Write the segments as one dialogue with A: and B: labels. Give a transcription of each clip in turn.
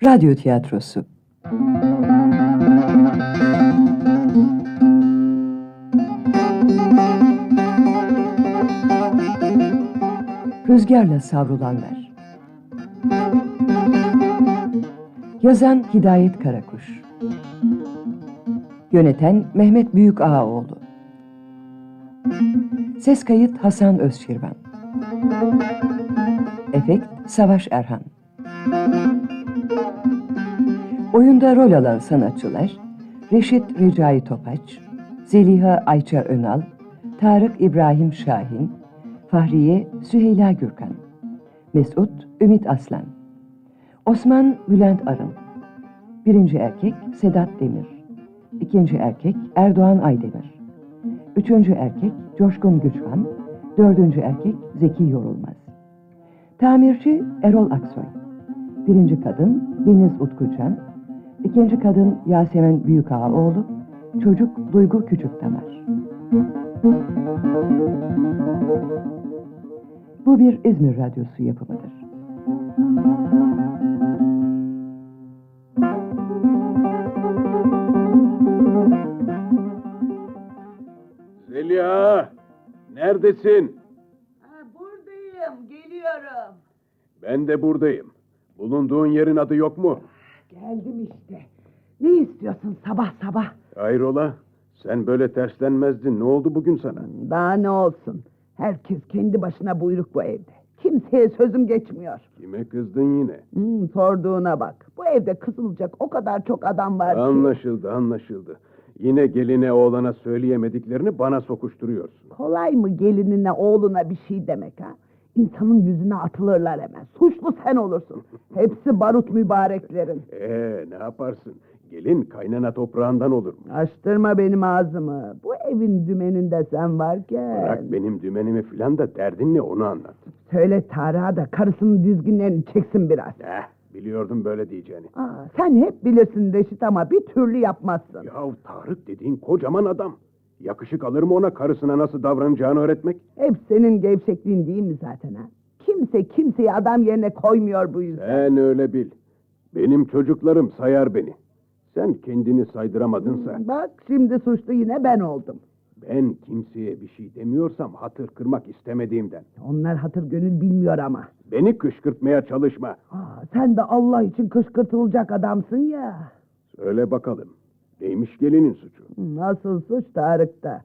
A: Radyo tiyatrosu. Rüzgarla savrulanlar. Yazan Hidayet Karakuş. Yöneten Mehmet Büyük Ağaoğlu. Ses kayıt Hasan Özşirvan. Efekt Savaş Erhan. Oyunda rol alan sanatçılar Reşit Recai Topaç, Zeliha Ayça Önal, Tarık İbrahim Şahin, Fahriye Süheyla Gürkan, Mesut Ümit Aslan, Osman Bülent Arın, birinci erkek Sedat Demir, ikinci erkek Erdoğan Aydemir, üçüncü erkek Coşkun Güçhan, dördüncü erkek Zeki Yorulmaz, tamirci Erol Aksoy, Birinci kadın Deniz Utkucan, ikinci kadın Yasemin Büyükağaoğlu, çocuk Duygu Küçükdamar. Bu bir İzmir Radyosu yapımıdır.
B: Zeliha! Neredesin?
C: Ha, buradayım, geliyorum.
B: Ben de buradayım. Bulunduğun yerin adı yok mu?
C: Geldim işte. Ne istiyorsun sabah sabah?
B: Hayrola? Sen böyle terslenmezdin. Ne oldu bugün sana?
C: Daha ne olsun? Herkes kendi başına buyruk bu evde. Kimseye sözüm geçmiyor.
B: Kime kızdın yine?
C: Hmm, sorduğuna bak. Bu evde kızılacak o kadar çok adam var ki.
B: Anlaşıldı, anlaşıldı. Yine geline oğlana söyleyemediklerini bana sokuşturuyorsun.
C: Kolay mı gelinine oğluna bir şey demek ha? İnsanın yüzüne atılırlar hemen. Suçlu sen olursun. Hepsi barut mübareklerin.
B: Ee, ne yaparsın? Gelin kaynana toprağından olur mu?
C: Açtırma benim ağzımı. Bu evin dümeninde sen varken...
B: Bırak benim dümenimi filan da derdin ne onu anlat.
C: Söyle Tarık'a da karısının dizginlerini çeksin biraz.
B: Eh, biliyordum böyle diyeceğini.
C: Aa, sen hep bilirsin Reşit ama bir türlü yapmazsın.
B: Yahu Tarık dediğin kocaman adam. Yakışık alır mı ona karısına nasıl davranacağını öğretmek?
C: Hep senin gevşekliğin değil mi zaten ha? Kimse kimseyi adam yerine koymuyor bu yüzden.
B: Sen öyle bil. Benim çocuklarım sayar beni. Sen kendini saydıramadınsa
C: Hmm, Bak şimdi suçlu yine ben oldum.
B: ben kimseye bir şey demiyorsam hatır kırmak istemediğimden.
C: Onlar hatır gönül bilmiyor ama.
B: Beni kışkırtmaya çalışma.
C: Aa, sen de Allah için kışkırtılacak adamsın ya.
B: Söyle bakalım. Neymiş gelinin suçu?
C: Nasıl Hmm, suç Tarık'ta?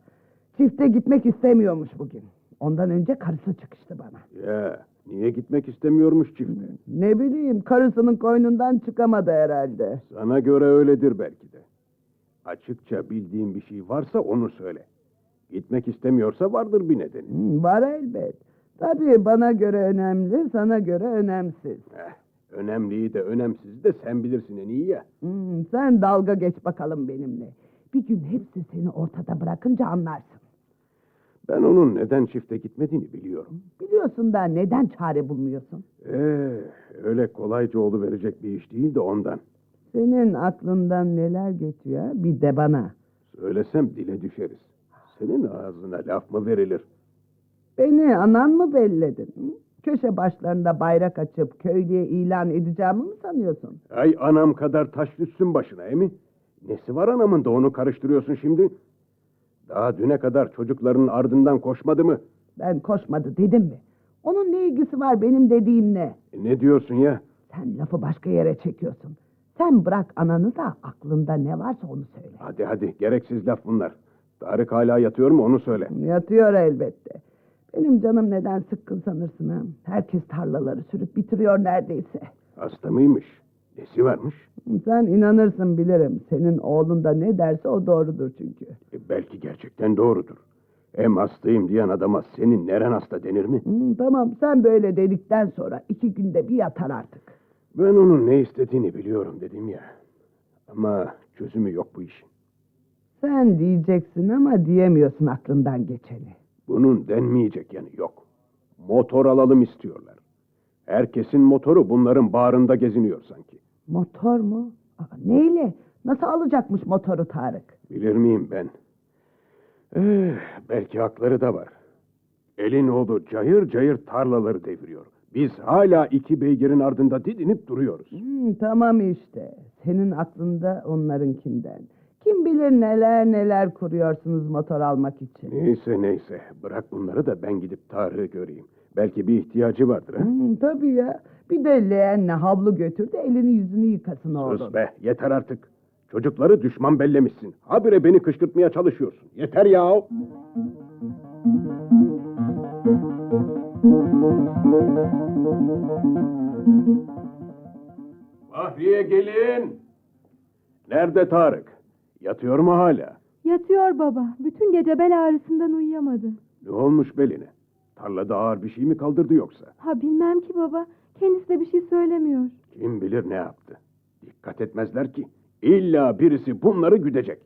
C: Çifte gitmek istemiyormuş bugün. Ondan önce karısı çıkıştı bana.
B: Ya niye gitmek istemiyormuş çifte?
C: Ne bileyim karısının koynundan çıkamadı herhalde.
B: Sana göre öyledir belki de. Açıkça bildiğin bir şey varsa onu söyle. Gitmek istemiyorsa vardır bir nedeni.
C: Hmm, var elbet. Tabii bana göre önemli, sana göre önemsiz.
B: Eh, önemliyi de önemsiz de sen bilirsin en iyi ya.
C: Hmm, sen dalga geç bakalım benimle. Bir gün hepsi seni ortada bırakınca anlarsın.
B: Ben onun neden çifte gitmediğini biliyorum.
C: Biliyorsun da neden çare bulmuyorsun?
B: Ee, öyle kolayca olu verecek bir iş değil de ondan.
C: Senin aklından neler geçiyor bir de bana.
B: Söylesem dile düşeriz. Senin ağzına laf mı verilir?
C: Beni anan mı belledin? hı? Köşe başlarında bayrak açıp köylüye ilan edeceğimi mi sanıyorsun?
B: Ay anam kadar taş düşsün başına emi. Nesi var anamın da onu karıştırıyorsun şimdi? Daha düne kadar çocukların ardından koşmadı mı?
C: Ben koşmadı dedim mi? Onun ne ilgisi var benim dediğimle?
B: E, ne diyorsun ya?
C: Sen lafı başka yere çekiyorsun. Sen bırak ananı da aklında ne varsa onu söyle.
B: Hadi hadi gereksiz laf bunlar. Tarık hala yatıyor mu onu söyle.
C: Yatıyor elbette. Benim canım neden sıkkın sanırsın ha? Herkes tarlaları sürüp bitiriyor neredeyse.
B: Hasta mıymış? Nesi varmış?
C: Sen inanırsın bilirim. Senin oğlun da ne derse o doğrudur çünkü.
B: E, belki gerçekten doğrudur. Hem hastayım diyen adama senin neren hasta denir mi?
C: Hmm, tamam sen böyle dedikten sonra iki günde bir yatar artık.
B: Ben onun ne istediğini biliyorum dedim ya. Ama çözümü yok bu işin.
C: Sen diyeceksin ama diyemiyorsun aklından geçeni.
B: Bunun denmeyecek yanı yok. Motor alalım istiyorlar. Herkesin motoru bunların bağrında geziniyor sanki.
C: Motor mu? Aa, neyle? Nasıl alacakmış motoru Tarık?
B: Bilir miyim ben? Eh, belki hakları da var. Elin oğlu cayır cayır tarlaları deviriyor. Biz hala iki beygirin ardında didinip duruyoruz.
C: Hmm, tamam işte. Senin aklında onlarınkinden. Kim bilir neler neler kuruyorsunuz motor almak için.
B: Neyse neyse. Bırak bunları da ben gidip Tarık'ı göreyim. Belki bir ihtiyacı vardır. ha?
C: Hmm, tabii ya. Bir de leğenle havlu götür de elini yüzünü yıkasın oğlum.
B: Sus be. Yeter artık. Çocukları düşman bellemişsin. Habire beni kışkırtmaya çalışıyorsun. Yeter ya. Bahriye gelin. Nerede Tarık? Yatıyor mu hala?
D: Yatıyor baba. Bütün gece bel ağrısından uyuyamadı.
B: Ne olmuş beline? Tarlada ağır bir şey mi kaldırdı yoksa?
D: Ha bilmem ki baba. Kendisi de bir şey söylemiyor.
B: Kim bilir ne yaptı? Dikkat etmezler ki. İlla birisi bunları güdecek.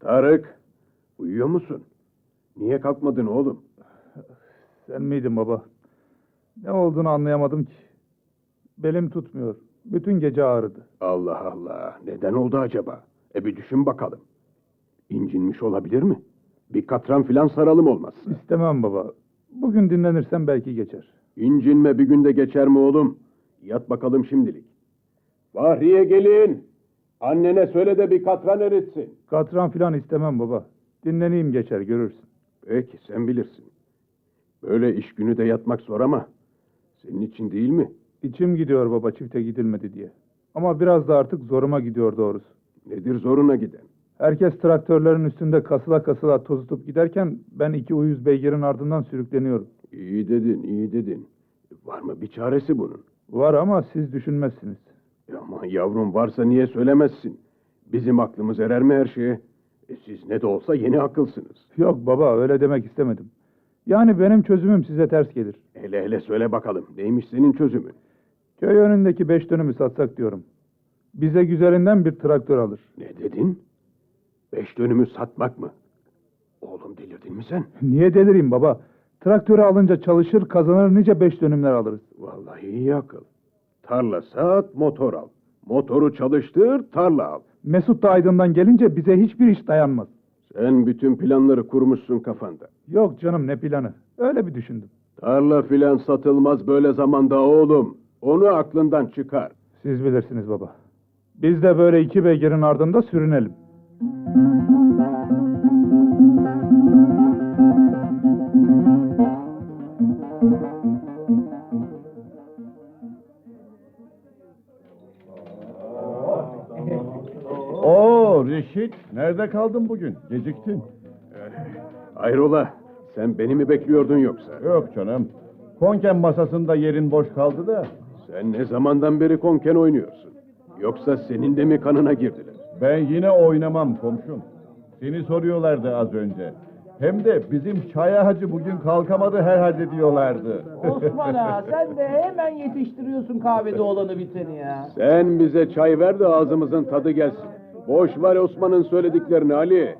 B: Tarık, uyuyor musun? Niye kalkmadın oğlum?
E: Sen miydin baba? Ne olduğunu anlayamadım ki. Belim tutmuyor. Bütün gece ağrıdı.
B: Allah Allah, neden oldu acaba? E bir düşün bakalım. İncinmiş olabilir mi? Bir katran filan saralım olmazsa.
E: İstemem baba. Bugün dinlenirsem belki geçer.
B: İncinme bir günde geçer mi oğlum? Yat bakalım şimdilik. Bahriye gelin. Annene söyle de bir katran eritsin.
E: Katran filan istemem baba. Dinleneyim geçer görürsün.
B: Peki sen bilirsin. Böyle iş günü de yatmak zor ama senin için değil mi?
E: İçim gidiyor baba çifte gidilmedi diye. Ama biraz da artık zoruma gidiyor doğrusu.
B: Nedir zoruna giden?
E: Herkes traktörlerin üstünde kasıla kasıla tozutup giderken ben iki uyuz beygirin ardından sürükleniyorum.
B: İyi dedin, iyi dedin. Var mı bir çaresi bunun?
E: Var ama siz düşünmezsiniz.
B: E Aman yavrum varsa niye söylemezsin? Bizim aklımız erer mi her şeye? E siz ne de olsa yeni akılsınız.
E: Yok baba öyle demek istemedim. Yani benim çözümüm size ters gelir.
B: Hele hele söyle bakalım neymiş senin çözümün?
E: Köy önündeki beş dönümü satsak diyorum. Bize güzelinden bir traktör alır.
B: Ne dedin? Beş dönümü satmak mı? Oğlum delirdin mi sen?
E: Niye delireyim baba? Traktörü alınca çalışır kazanır nice beş dönümler alırız.
B: Vallahi iyi akıl. Tarla sat, motor al. Motoru çalıştır, tarla al.
E: Mesut da Aydın'dan gelince bize hiçbir iş dayanmaz.
B: Sen bütün planları kurmuşsun kafanda.
E: Yok canım ne planı. Öyle bir düşündüm.
B: Tarla filan satılmaz böyle zamanda oğlum. Onu aklından çıkar.
E: Siz bilirsiniz baba. Biz de böyle iki beygirin ardında sürünelim.
F: Oo Reşit, nerede kaldın bugün? Geciktin.
B: Hayrola, sen beni mi bekliyordun yoksa?
F: Yok canım. Konken masasında yerin boş kaldı da
B: Sen ne zamandan beri konken oynuyorsun? Yoksa senin de mi kanına girdiler?
F: ben yine oynamam komşum. Seni soruyorlardı az önce. Hem de bizim Çaya Hacı bugün kalkamadı herhalde diyorlardı.
G: Osman ağa sen de hemen yetiştiriyorsun kahvede olanı biteni ya.
B: Sen bize çay ver de ağzımızın tadı gelsin. Boş ver Osman'ın söylediklerini Ali.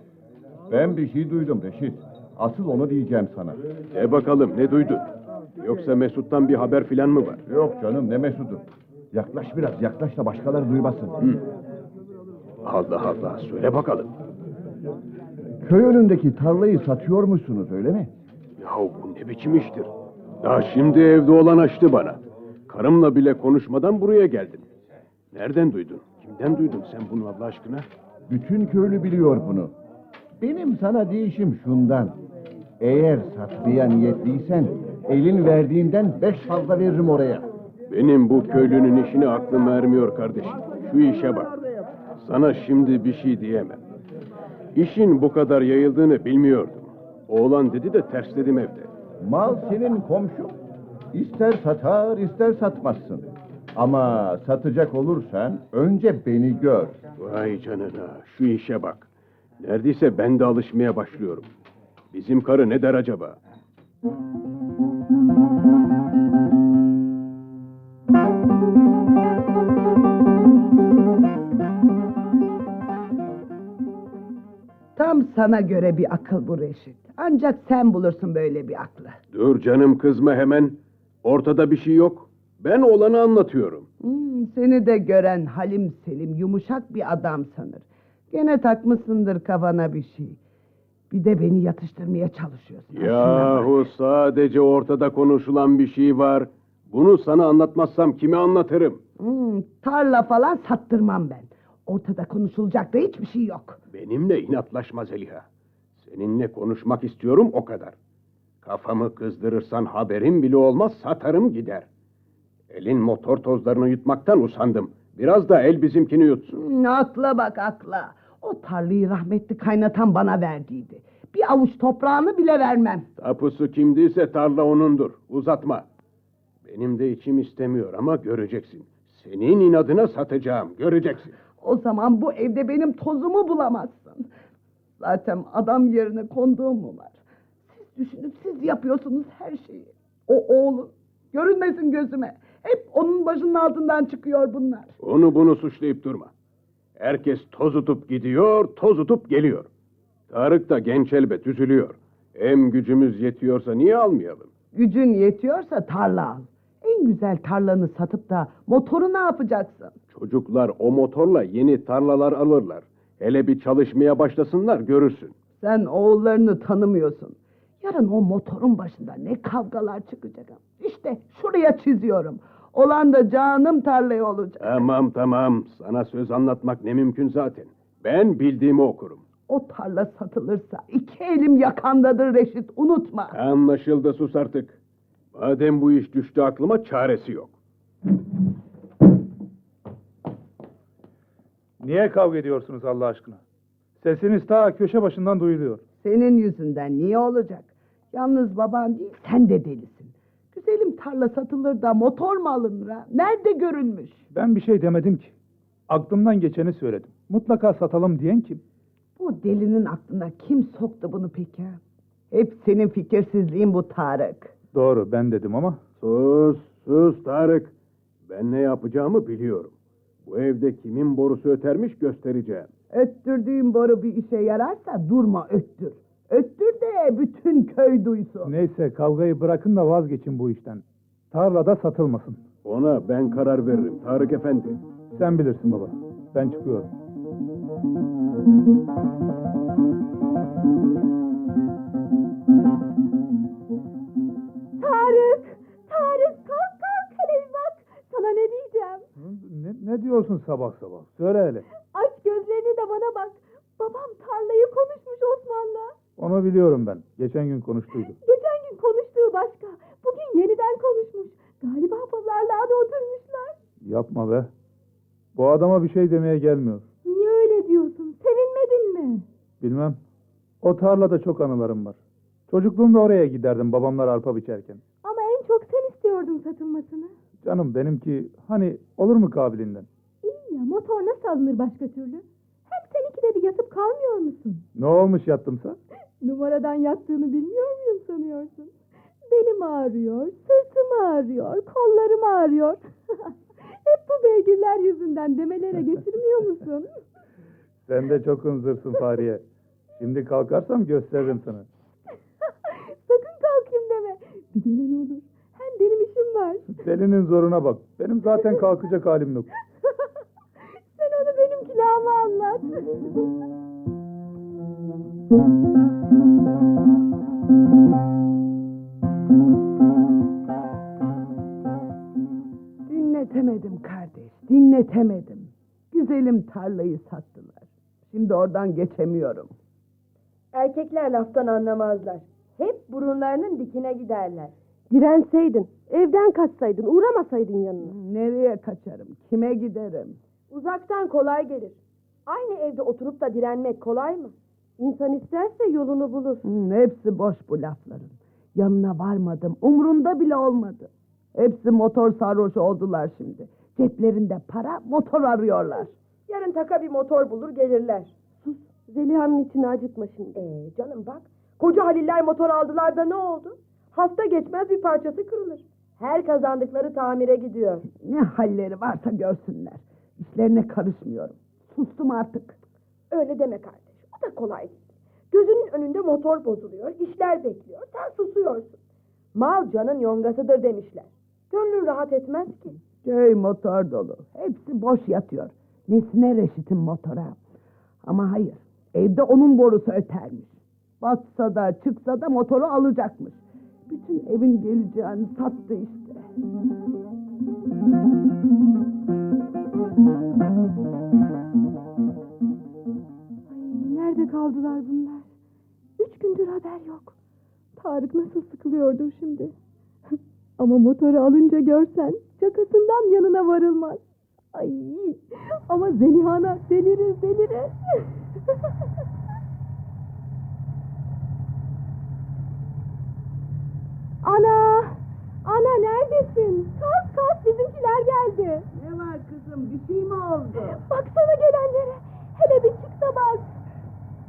F: ben bir şey duydum Reşit. Asıl onu diyeceğim sana.
B: E bakalım ne duydun? Yoksa Mesut'tan bir haber filan mı var?
F: Yok canım ne mesudu. Yaklaş biraz yaklaş da başkaları duymasın.
B: Allah Allah, söyle bakalım.
F: Köy önündeki tarlayı satıyor musunuz öyle mi?
B: Yahu bu ne biçim iştir? Daha şimdi evde olan açtı bana. Karımla bile konuşmadan buraya geldim. Nereden duydun? Kimden duydun sen bunu Allah aşkına?
F: Bütün köylü biliyor bunu. Benim sana değişim şundan. Eğer satmaya niyetliysen elin verdiğinden beş fazla veririm oraya.
B: Benim bu köylünün işine aklım ermiyor kardeşim. Şu işe bak. Sana şimdi bir şey diyemem. İşin bu kadar yayıldığını bilmiyordum. Oğlan dedi de tersledim evde.
F: Mal senin komşun. İster satar ister satmazsın. Ama satacak olursan önce beni gör.
B: Vay canına şu işe bak. Neredeyse ben de alışmaya başlıyorum. Bizim karı ne der acaba?
C: Tam sana göre bir akıl bu Reşit. Ancak sen bulursun böyle bir aklı.
B: Dur canım kızma hemen. Ortada bir şey yok. Ben olanı anlatıyorum.
C: Hmm, seni de gören Halim Selim yumuşak bir adam sanır. Gene takmışsındır kafana bir şey. Bir de beni yatıştırmaya çalışıyorsun. Ha, şuna bak.
B: Yahu sadece ortada konuşulan bir şey var. Bunu sana anlatmazsam kime anlatırım?
C: Hmm, tarla falan sattırmam ben. Ortada konuşulacak da hiçbir şey yok.
B: Benimle inatlaşma Zeliha. Seninle konuşmak istiyorum o kadar. Kafamı kızdırırsan haberim bile olmaz satarım gider. Elin motor tozlarını yutmaktan usandım. Biraz da el bizimkini yutsun.
C: Hmm, akla bak akla. O tarlayı rahmetli kaynatan bana verdiydi. Bir avuç toprağını bile vermem.
B: Tapusu kimdiyse tarla onundur. Uzatma. Benim de içim istemiyor ama göreceksin. Senin inadına satacağım. Göreceksin.
C: O zaman bu evde benim tozumu bulamazsın. Zaten adam yerine konduğum mu var? Siz düşünüp siz yapıyorsunuz her şeyi. O oğlun. Görünmesin gözüme. Hep onun başının altından çıkıyor bunlar.
B: Onu bunu suçlayıp durma. Herkes toz utup gidiyor, toz utup geliyor. Tarık da genç elbet üzülüyor. Hem gücümüz yetiyorsa niye almayalım?
C: Gücün yetiyorsa tarla al. En güzel tarlanı satıp da motoru ne yapacaksın?
B: Çocuklar o motorla yeni tarlalar alırlar. Hele bir çalışmaya başlasınlar görürsün.
C: Sen oğullarını tanımıyorsun. Yarın o motorun başında ne kavgalar çıkacak. İşte şuraya çiziyorum. Olan da canım tarlaya olacak.
B: Tamam tamam sana söz anlatmak ne mümkün zaten. Ben bildiğimi okurum.
C: O tarla satılırsa iki elim yakandadır Reşit unutma.
B: Anlaşıldı sus artık. Madem bu iş düştü aklıma çaresi yok.
E: Niye kavga ediyorsunuz Allah aşkına? Sesiniz ta köşe başından duyuluyor.
C: Senin yüzünden niye olacak? Yalnız baban değil sen de delisin. Güzelim tarla satılır da motor mu alınır ha? Nerede görülmüş?
E: Ben bir şey demedim ki. Aklımdan geçeni söyledim. Mutlaka satalım diyen kim?
C: Bu delinin aklına kim soktu bunu peki? ha? Hep senin fikirsizliğin bu Tarık.
E: Doğru ben dedim ama
B: Sus, sus Tarık. Ben ne yapacağımı biliyorum. Bu evde kimin borusu ötermiş göstereceğim.
C: Öttürdüğün boru bir işe yararsa durma öttür. Öttür de bütün köy duysun.
E: neyse kavgayı bırakın da vazgeçin bu işten. Tarlada satılmasın.
B: Ona ben karar veririm Tarık Efendi.
E: Sen bilirsin baba. Ben çıkıyorum.
D: Tarık! Tarık kalk kalk hele bak. Sana ne diyeceğim?
E: Ne, ne diyorsun sabah sabah? Söyle hele.
D: Aç gözlerini de bana bak. Babam tarlayı konuşmuş Osman'la.
E: Onu biliyorum ben. Geçen gün konuştuyduk.
D: Geçen gün konuştuğu başka. Bugün yeniden konuşmuş. Galiba pazarlığa da oturmuşlar.
E: Yapma be. Bu adama bir şey demeye gelmiyor.
D: Niye öyle diyorsun? Sevinmedin mi?
E: Bilmem. O tarlada çok anılarım var. Çocukluğumda oraya giderdim babamlar arpa biçerken.
D: Ama en çok sen istiyordun satılmasını.
E: Canım benimki hani olur mu kabilinden?
D: İyi ya motor nasıl alınır başka türlü? Hem sen ikide bir yatıp kalmıyor musun?
E: Ne olmuş yattımsa?
D: Numaradan yattığını bilmiyor muyum sanıyorsun? Belim ağrıyor, sırtım ağrıyor, kollarım ağrıyor. Hep bu beygirler yüzünden demelere getirmiyor musun?
E: Sen de çok hınzırsın Fahriye. Şimdi kalkarsam gösteririm sana.
D: Sakın kalkayım deme. Bir gelen olur. Hem benim işim var.
E: Delinin zoruna bak. Benim zaten kalkacak halim yok.
D: Sen onu benim külahıma anlat.
C: Dinletemedim kardeş, dinletemedim. Güzelim tarlayı sattılar. Şimdi oradan geçemiyorum.
H: Erkekler laftan anlamazlar. Hep burunlarının dikine giderler. Direnseydin, evden kaçsaydın, uğramasaydın yanına.
C: Nereye kaçarım, kime giderim?
H: Uzaktan kolay gelir. Aynı evde oturup da direnmek kolay mı? İnsan isterse yolunu bulur.
C: Hmm, hepsi boş bu lafların. Yanına varmadım, umrunda bile olmadı. Hepsi motor sarhoşu oldular şimdi. Ceplerinde para, motor arıyorlar.
H: Yarın taka bir motor bulur gelirler. Sus, Zeliha'nın içini acıtma şimdi. Ee, canım bak, koca Haliller motor aldılar da ne oldu? Hafta geçmez bir parçası kırılır. Her kazandıkları tamire gidiyor.
C: Ne halleri varsa görsünler. İşlerine karışmıyorum. Sustum artık.
H: Öyle deme kardeş. O da kolay değil. Gözünün önünde motor bozuluyor, işler bekliyor. Sen susuyorsun. Mal canın yongasıdır demişler. Gönlün rahat etmez ki.
C: Köy motor dolu. Hepsi boş yatıyor. Nesine reşitin motora? Ama hayır, evde onun borusu ötermiş. Batsa da çıksa da motoru alacakmış. Bütün evin geleceğini sattı işte.
D: Ay, nerede kaldılar bunlar? Üç gündür haber yok. Tarık nasıl sıkılıyordur şimdi. Ama motoru alınca görsen şakasından yanına varılmaz. Ay ama Zeliha'na deliriz deliriz. ana! Ana neredesin? Kalk kalk bizimkiler geldi.
C: Ne var kızım bir şey mi oldu?
D: Baksana gelenlere. Hele bir çık da bak.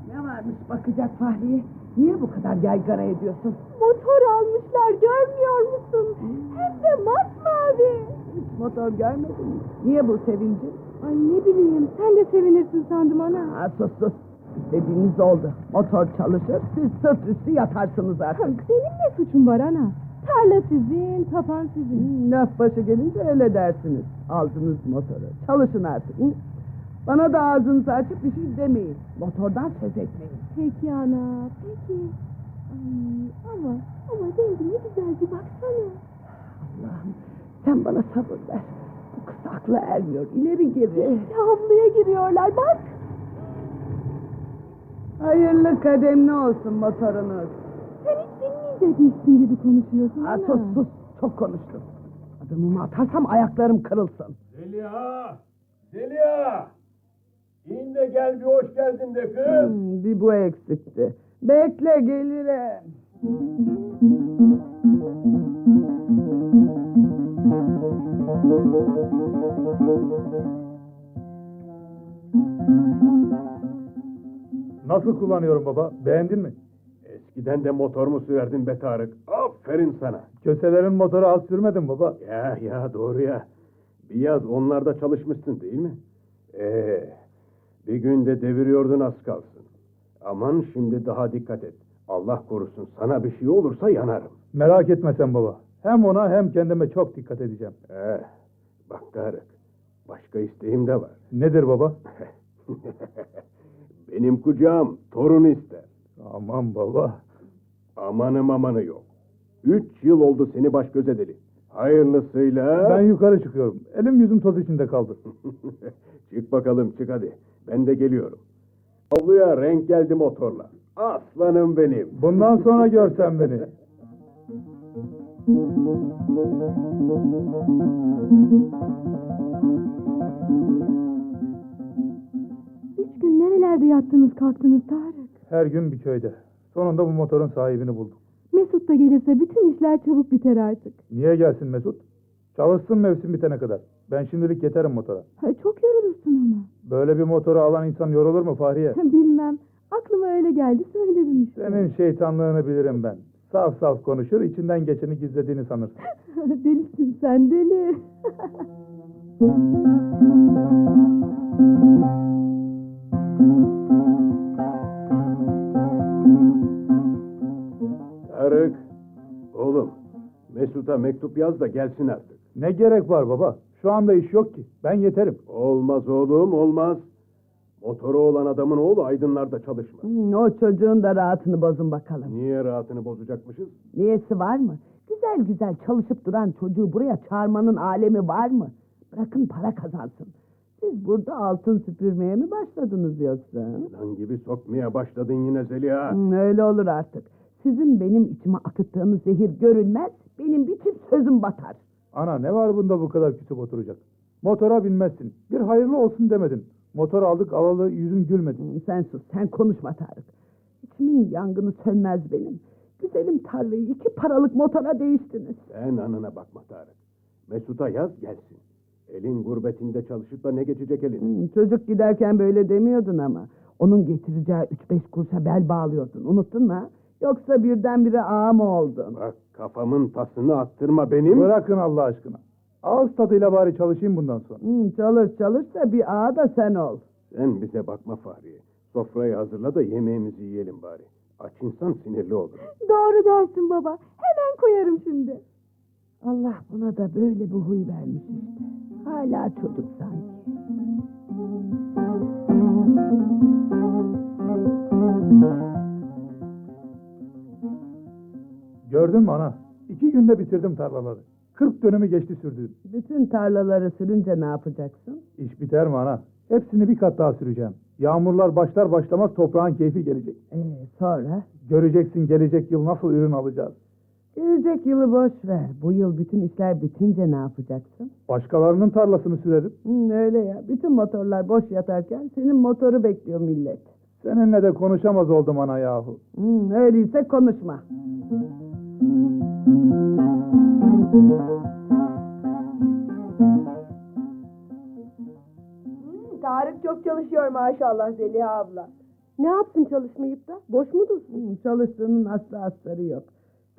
C: Ne varmış bakacak Fahriye? Niye bu kadar yaygara ediyorsun?
D: Motor almışlar görmüyor musun? Hem de masmavi.
C: Hiç motor görmedin mi? Niye bu sevinci?
D: Ay ne bileyim sen de sevinirsin sandım ana.
C: Ha, sus sus. İstediğiniz oldu. Motor çalışır, siz sırt üstü yatarsınız artık.
D: Senin ne suçun var ana? Tarla sizin, tapan sizin.
C: Hmm, Laf başı gelince öyle dersiniz. Aldınız motoru. Çalışın artık. hı? Bana da ağzınızı açıp bir şey demeyin. Motordan ses etmeyin.
D: Peki ana, peki. Ay, ama, ama zengin ne güzelce baksana.
C: Allah'ım sen bana sabır ver. Bu kız akla ermiyor. İleri geri.
D: Havluya giriyorlar bak.
C: Hayırlı kademli olsun motorunuz.
D: Sen hiç dinleyecekmişsin gibi konuşuyorsun
C: Ha,
D: ana.
C: sus sus. Çok konuştun. Adımımı atarsam ayaklarım kırılsın.
B: Zeliha! Zeliha! İn de gel bir hoş geldin de kız.
C: Hmm, bir bu eksikti. Bekle gelirim.
E: Nasıl kullanıyorum baba? Beğendin mi?
B: Eskiden de motor mu sürerdin be Tarık? Aferin sana.
E: Köselerin motoru az sürmedin baba.
B: Ya ya doğru ya. Bir yaz onlarda çalışmışsın değil mi? Ee, bir günde deviriyordun az kalsın. Aman şimdi daha dikkat et. Allah korusun sana bir şey olursa yanarım.
E: Merak etme sen baba. Hem ona hem kendime çok dikkat edeceğim.
B: Ee, bak Tarık, başka isteğim de var.
E: Nedir baba?
B: Benim kucağım torun ister.
E: Aman baba.
B: Amanı mamanı yok. Üç yıl oldu seni baş göz edeli. Hayırlısıyla...
E: Ben yukarı çıkıyorum. Elim yüzüm toz içinde kaldı.
B: çık bakalım çık hadi. Ben de geliyorum. Avluya renk geldi motorla. Aslanım benim.
E: Bundan sonra görsen beni.
D: Üç gün nerelerde yattınız kalktınız Tarık?
E: Her gün bir köyde. Sonunda bu motorun sahibini bulduk.
D: Mesut da gelirse bütün işler çabuk biter artık.
E: Niye gelsin Mesut? Çalışsın mevsim bitene kadar. Ben şimdilik yeterim motora.
D: Ha, çok yorulursun ama.
E: Böyle bir motoru alan insan yorulur mu Fahriye?
D: Bilmem. Aklıma öyle geldi söyledim işte.
E: Senin şeytanlığını bilirim ben. Saf saf konuşur, içinden geçeni gizlediğini sanırsın.
D: Delisin sen deli.
B: Tarık. Oğlum. Mesut'a mektup yaz da gelsin artık.
E: Ne gerek var baba? Şu anda iş yok ki. Ben yeterim.
B: Olmaz oğlum olmaz. Motoru olan adamın oğlu aydınlarda çalışmaz.
C: Hmm, o çocuğun da rahatını bozun bakalım.
B: Niye rahatını bozacakmışız?
C: Niyesi var mı? Güzel güzel çalışıp duran çocuğu buraya çağırmanın alemi var mı? Bırakın para kazansın. Siz burada altın süpürmeye mi başladınız yoksa?
B: Lan gibi sokmaya başladın yine Zeliha.
C: Hmm, öyle olur artık. Sizin benim içime akıttığınız zehir görülmez, benim bir çift sözüm batar.
E: Ana ne var bunda bu kadar küsüp oturacak? Motora binmezsin. Bir hayırlı olsun demedin. Motor aldık alalı yüzün gülmedi.
C: Hmm, sen sus, sen konuşma Tarık. İçimin yangını sönmez benim. Güzelim tarlayı iki paralık motora değiştiniz.
B: Sen anana bakma Tarık. Mesut'a yaz gelsin. Elin gurbetinde çalışıp da ne geçecek elin?
C: Hmm, çocuk giderken böyle demiyordun ama. Onun getireceği üç beş kuruşa bel bağlıyordun. Unuttun mu? ha? Yoksa birdenbire ağa mı oldun?
B: Bak kafamın tasını attırma benim.
E: Bırakın Allah aşkına. Ağız tadıyla bari çalışayım bundan sonra.
C: Hmm, çalış çalış da bir ağa da sen ol.
B: Sen bize bakma Fahriye. Sofrayı hazırla da yemeğimizi yiyelim bari. Aç insan sinirli olur.
D: Doğru dersin baba. Hemen koyarım şimdi.
C: Allah buna da böyle bir huy vermiş işte. Hala çocuk sanki.
I: Gördün mü ana? İki günde bitirdim tarlaları. Kırk dönümü geçti sürdüğüm.
C: Bütün tarlaları sürünce ne yapacaksın?
I: İş biter mi ana? Hepsini bir kat daha süreceğim. Yağmurlar başlar başlamaz toprağın keyfi gelecek.
C: Ee, sonra?
I: Göreceksin gelecek yıl nasıl ürün alacağız.
C: Gelecek yılı boş ver. Bu yıl bütün işler bitince ne yapacaksın?
I: Başkalarının tarlasını sürerim.
C: Hı, öyle ya. Bütün motorlar boş yatarken senin motoru bekliyor millet.
I: Seninle de konuşamaz oldum ana yahu.
C: Hı, öyleyse konuşma.
H: Hmm, Tarık çok çalışıyor maşallah Zeliha abla. Ne yapsın çalışmayıp da? Boş mudur?
C: Hı, çalıştığının aslı astarı yok.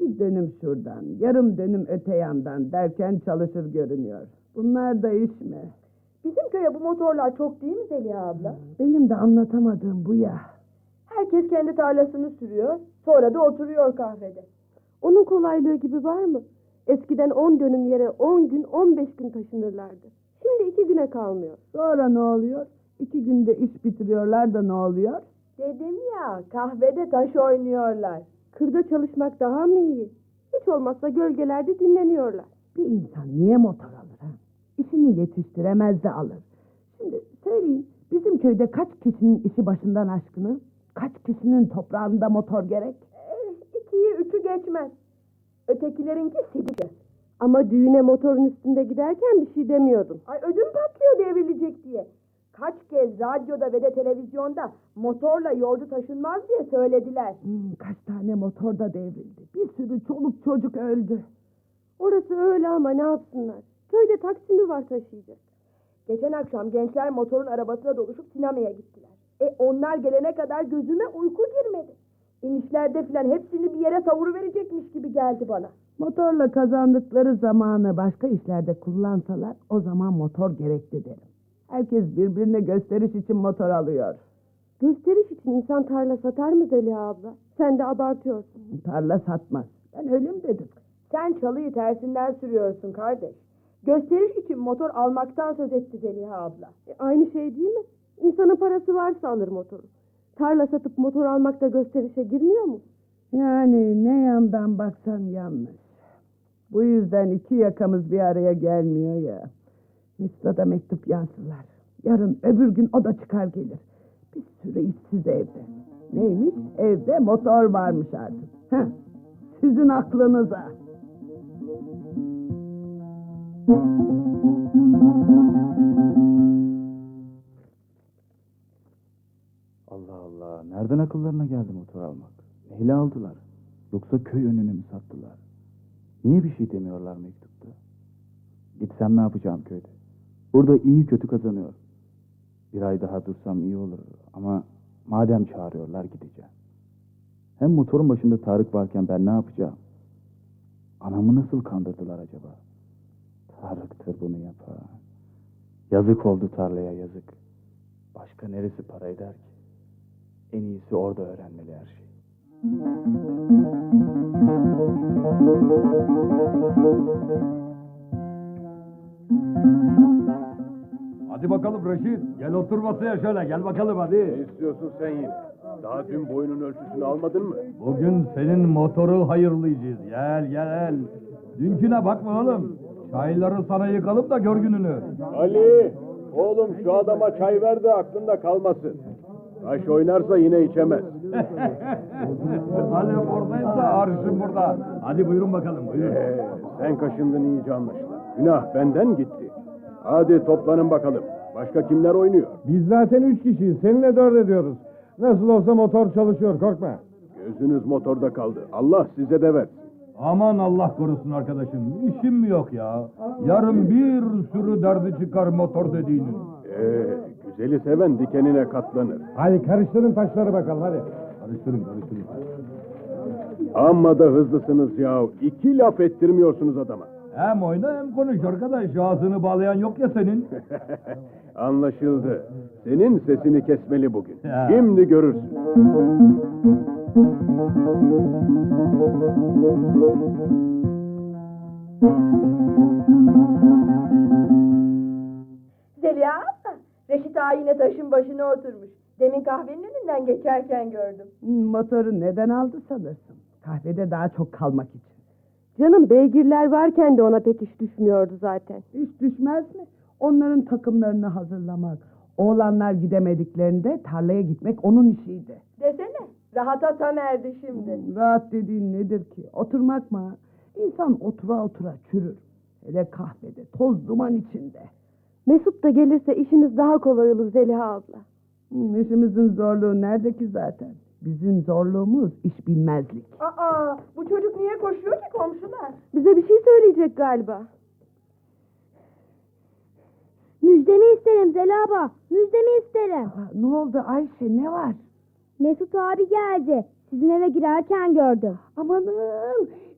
C: Bir dönüm şuradan, yarım dönüm öte yandan derken çalışır görünüyor. Bunlar da iş mi?
H: Bizim köye bu motorlar çok değil mi Zeliha abla?
C: Benim de anlatamadığım bu ya.
H: Herkes kendi tarlasını sürüyor, sonra da oturuyor kahvede. Onun kolaylığı gibi var mı? Eskiden 10 dönüm yere 10 gün 15 gün taşınırlardı. Şimdi 2 güne kalmıyor.
C: Sonra ne oluyor? İki günde iş bitiriyorlar da ne oluyor?
H: Dedim ya kahvede taş oynuyorlar. Kırda çalışmak daha mı iyi? Hiç olmazsa gölgelerde dinleniyorlar.
C: Bir insan niye motor alır ha? İşini yetiştiremez de alır. Şimdi söyleyin bizim köyde kaç kişinin işi başından aşkını? Kaç kişinin toprağında motor gerek?
H: Eh, İkiyi üçü geçmez. Ötekilerinki sidice. Ama düğüne motorun üstünde giderken bir şey demiyordun. Ay ödüm patlıyor devrilecek diye. Kaç kez radyoda ve de televizyonda motorla yolcu taşınmaz diye söylediler.
C: Hmm, kaç tane motor da devrildi. Bir sürü çoluk çocuk öldü.
H: Orası öyle ama ne yapsınlar? Köyde taksimi var taşıyacak. Geçen akşam gençler motorun arabasına doluşup sinemaya gittiler. E onlar gelene kadar gözüme uyku girmedi. İnişlerde filan hepsini bir yere savuruverecekmiş gibi geldi bana.
C: Motorla kazandıkları zamanı başka işlerde kullansalar o zaman motor gerekli derim. Herkes birbirine gösteriş için motor alıyor.
H: Gösteriş için insan tarla satar mı Zeliha abla? Sen de abartıyorsun.
C: Tarla satmaz. Ben öyle mi dedim?
H: Sen çalıyı tersinden sürüyorsun kardeş. Gösteriş için motor almaktan söz etti Zeliha abla. aynı şey değil mi? İnsanın parası varsa alır motoru. Tarla satıp motor almak da gösterişe girmiyor mu?
C: Yani ne yandan baksan yanlış. Bu yüzden iki yakamız bir araya gelmiyor ya. Misla'da mektup yazdılar. Yarın öbür gün o da çıkar gelir. Bir sürü işsiz evde. Neymiş? Evde motor varmış artık. Heh, sizin aklınıza.
J: Allah Allah. Nereden akıllarına geldi motor almak? Neyle aldılar? Yoksa köy önünü mü sattılar? Niye bir şey demiyorlar mektupta? Gitsem ne yapacağım köyde? Burada iyi kötü kazanıyor. Bir ay daha dursam iyi olur ama madem çağırıyorlar gideceğim. Hem motorun başında Tarık varken ben ne yapacağım? Anamı nasıl kandırdılar acaba? Tarık'tır bunu yapan. Yazık oldu tarlaya yazık. Başka neresi para eder ki? En iyisi orada öğrenmeli her şey. şeyi.
I: Hadi bakalım Reşit. Gel otur masaya şöyle. Gel bakalım
B: Ne
I: hadi.
B: istiyorsun sen yine? Daha dün boyunun ölçüsünü almadın mı?
I: Bugün senin motoru hayırlayacağız. Gel gel. Dünküne bakma oğlum. Çayları sana yıkalım da gör gününü.
B: Ali! Oğlum şu adama çay ver de aklında kalmasın. Taş oynarsa yine içemez.
I: Alev oradaysa arşın burada. Hadi buyurun bakalım buyurun.
B: Ee, sen kaşındın iyice anlaşılan. Günah benden gitti. Hadi toplanın bakalım. Başka kimler oynuyor?
I: Biz zaten üç kişiyiz. Seninle dört ediyoruz. Nasıl olsa motor çalışıyor korkma.
B: Gözünüz motorda kaldı. Allah size de versin.
I: Aman Allah korusun arkadaşım. İşim mi yok ya? Yarın bir sürü derdi çıkar motor dediğinin.
B: Ee, güzeli seven dikenine katlanır.
I: Hadi karıştırın taşları bakalım hadi. Karıştırın karıştırın.
B: Amma da hızlısınız yahu. İki laf ettirmiyorsunuz adama.
I: Hem oyna hem konuş arkadaş. Ağzını bağlayan yok ya senin.
B: Anlaşıldı. Senin sesini kesmeli bugün.
I: Ya.
B: Şimdi görürsün.
H: Zeliha abla, Reşit ağa yine taşın başına oturmuş. Demin kahvenin önünden geçerken gördüm.
C: Hmm, Motoru neden aldı sanırsın? Kahvede daha çok kalmak için.
H: Canım beygirler varken de ona pek iş düşmüyordu zaten.
C: Hiç düşmez mi? Onların takımlarını hazırlamak. Oğlanlar gidemediklerinde tarlaya gitmek onun işiydi. Hmm,
H: Desene. Rahata tam erdi şimdi.
C: Rahat dediğin nedir ki? Oturmak mı? İnsan otura otura çürür. Hele kahvede, toz duman içinde.
H: Mesut da gelirse işiniz daha kolay olur Zeliha abla.
C: Hmm, işimizin zorluğu nerede ki zaten? Bizim zorluğumuz iş bilmezlik.
H: Aa, bu çocuk niye koşuyor ki komşular? Bize bir şey söyleyecek galiba.
D: Müjdemi isterim Zelaba. Müjdemi isterim.
C: Aa, ne oldu Ayşe E, ne var?
D: Mesut abi geldi. Sizin eve girerken gördüm.
C: Amanın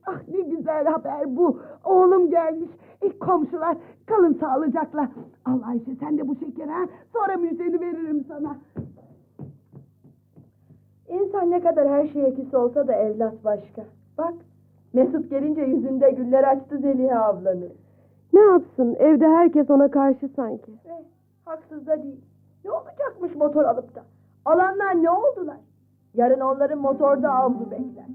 C: ah ne güzel haber bu. Oğlum gelmiş. İlk komşular kalın sağlıcakla. Al Ayşe sen de bu şeker ha. Sonra müjdeni veririm sana.
H: İnsan ne kadar her şeye küs olsa da evlat başka. Bak, Mesut gelince yüzünde güller açtı Zeliha ablanın. Ne yapsın, evde herkes ona karşı sanki. Eh, haksız da değil. Ne olacakmış motor alıp da? Alanlar ne oldular? Yarın onların motorda avlu bekler.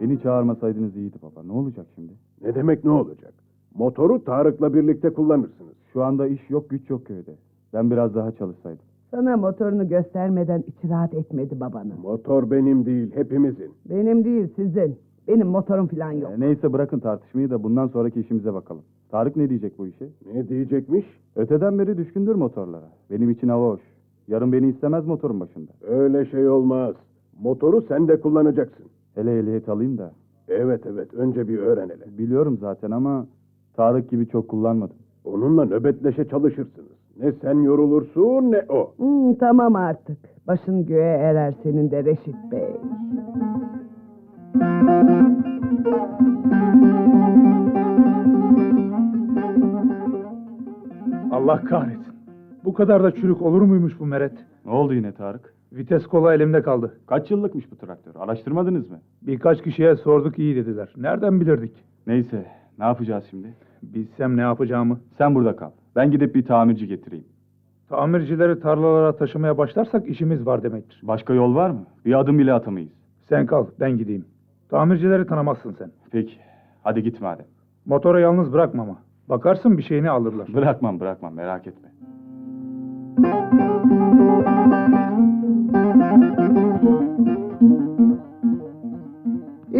K: Beni çağırmasaydınız iyiydi baba. Ne olacak şimdi?
B: Ne demek ne olacak? Motoru Tarık'la birlikte kullanırsınız.
K: Şu anda iş yok güç yok köyde. Ben biraz daha çalışsaydım.
C: Sana motorunu göstermeden içi rahat etmedi babanın.
B: Motor benim değil, hepimizin.
C: Benim değil sizin. Benim motorum falan yok.
K: Ee, neyse bırakın tartışmayı da bundan sonraki işimize bakalım. Tarık ne diyecek bu işe?
B: Ne diyecekmiş?
K: Öteden beri düşkündür motorlara. Benim için hava hoş. Yarın beni istemez motorun başında.
B: Öyle şey olmaz. Motoru sen de kullanacaksın.
K: Hele ehliyet alayım da.
B: Evet evet, önce bir öğren hele.
K: Biliyorum zaten ama Tarık gibi çok kullanmadım.
B: Onunla nöbetleşe çalışırsınız. Ne sen yorulursun ne o.
C: Hmm, tamam artık. Başın göğe erer senin de Reşit Bey.
E: Allah kahretsin. Bu kadar da çürük olur muymuş bu meret?
K: Ne oldu yine Tarık?
E: Vites kola elimde kaldı.
K: Kaç yıllıkmış bu traktör? Araştırmadınız mı?
E: Birkaç kişiye sorduk iyi dediler. Nereden bilirdik?
K: Neyse ne yapacağız şimdi?
E: Bilsem ne yapacağımı.
K: Sen burada kal. Ben gidip bir tamirci getireyim.
E: Tamircileri tarlalara taşımaya başlarsak işimiz var demektir.
K: Başka yol var mı? Bir adım bile atamayız.
E: Sen kal, ben gideyim. Tamircileri tanımazsın sen.
K: Peki. Hadi git madem.
E: Motora yalnız bırakma ama. Bakarsın bir şeyini alırlar.
K: Bırakmam bırakmam merak etme.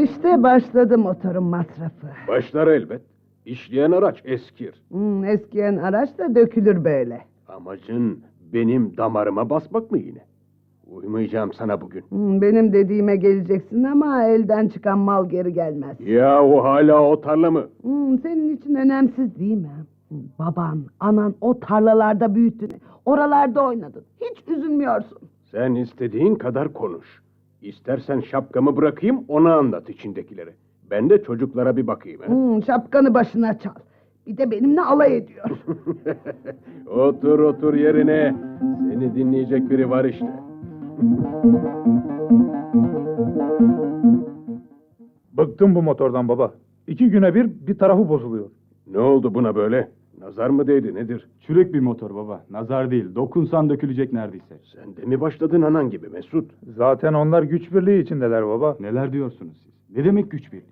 C: İşte başladı motorun masrafı.
B: Başlar elbet. İşleyen araç eskir.
C: Hmm, eskiyen araç da dökülür böyle.
B: Amacın benim damarıma basmak mı yine? Uymayacağım sana bugün.
C: Hmm, benim dediğime geleceksin ama elden çıkan mal geri gelmez.
B: Ya o hala o tarla mı?
C: Hmm, senin için önemsiz değil mi? Hmm, Baban, anan o tarlalarda büyüttün. Oralarda oynadın. Hiç üzülmüyorsun.
B: Sen istediğin kadar konuş. İstersen şapkamı bırakayım ona anlat içindekileri. Ben de çocuklara bir bakayım. He?
C: Hmm, şapkanı başına çal. Bir de benimle alay ediyor.
B: otur otur yerine. Seni dinleyecek biri var işte.
E: Bıktım bu motordan baba. İki güne bir bir tarafı bozuluyor.
B: Ne oldu buna böyle? Nazar mı değdi nedir?
K: Çürük bir motor baba. Nazar değil. Dokunsan dökülecek neredeyse.
B: Sen de mi başladın anan gibi Mesut?
E: Zaten onlar güç birliği içindeler baba.
K: Neler diyorsunuz siz? Ne demek güç birliği?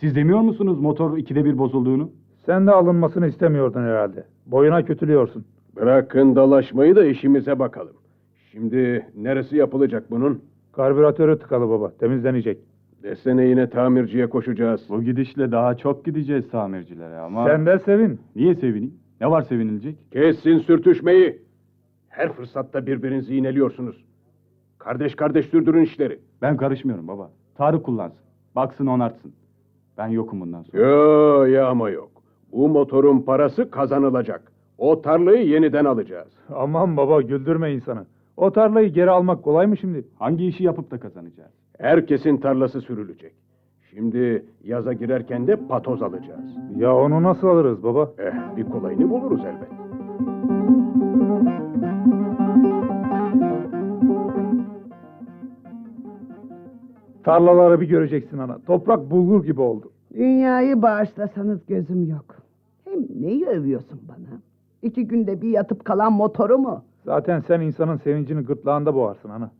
K: Siz demiyor musunuz motor ikide bir bozulduğunu?
E: Sen de alınmasını istemiyordun herhalde. Boyuna kötülüyorsun.
B: Bırakın dalaşmayı da işimize bakalım. Şimdi neresi yapılacak bunun?
E: Karbüratörü tıkalı baba. Temizlenecek.
B: Desene yine tamirciye koşacağız.
K: Bu gidişle daha çok gideceğiz tamircilere ama...
E: Sen de sevin.
K: Niye sevineyim? Ne var sevinilecek?
B: Kessin sürtüşmeyi. Her fırsatta birbirinizi iğneliyorsunuz. Kardeş kardeş sürdürün işleri.
K: Ben karışmıyorum baba. Tarık kullansın. Baksın onartsın. Ben yokum bundan sonra.
B: Yo ya ama yok. Bu motorun parası kazanılacak. O tarlayı yeniden alacağız.
E: Aman baba güldürme insanı. O tarlayı geri almak kolay mı şimdi?
K: Hangi işi yapıp da kazanacağız?
B: Herkesin tarlası sürülecek. Şimdi yaza girerken de patoz alacağız.
E: Ya onu nasıl alırız baba?
B: Eh, bir kolayını buluruz elbet.
E: Tarlaları bir göreceksin ana. Toprak bulgur gibi oldu.
C: Dünyayı bağışlasanız gözüm yok. Hem neyi övüyorsun bana? İki günde bir yatıp kalan motoru mu?
E: Zaten sen insanın sevincini gırtlağında boğarsın ana.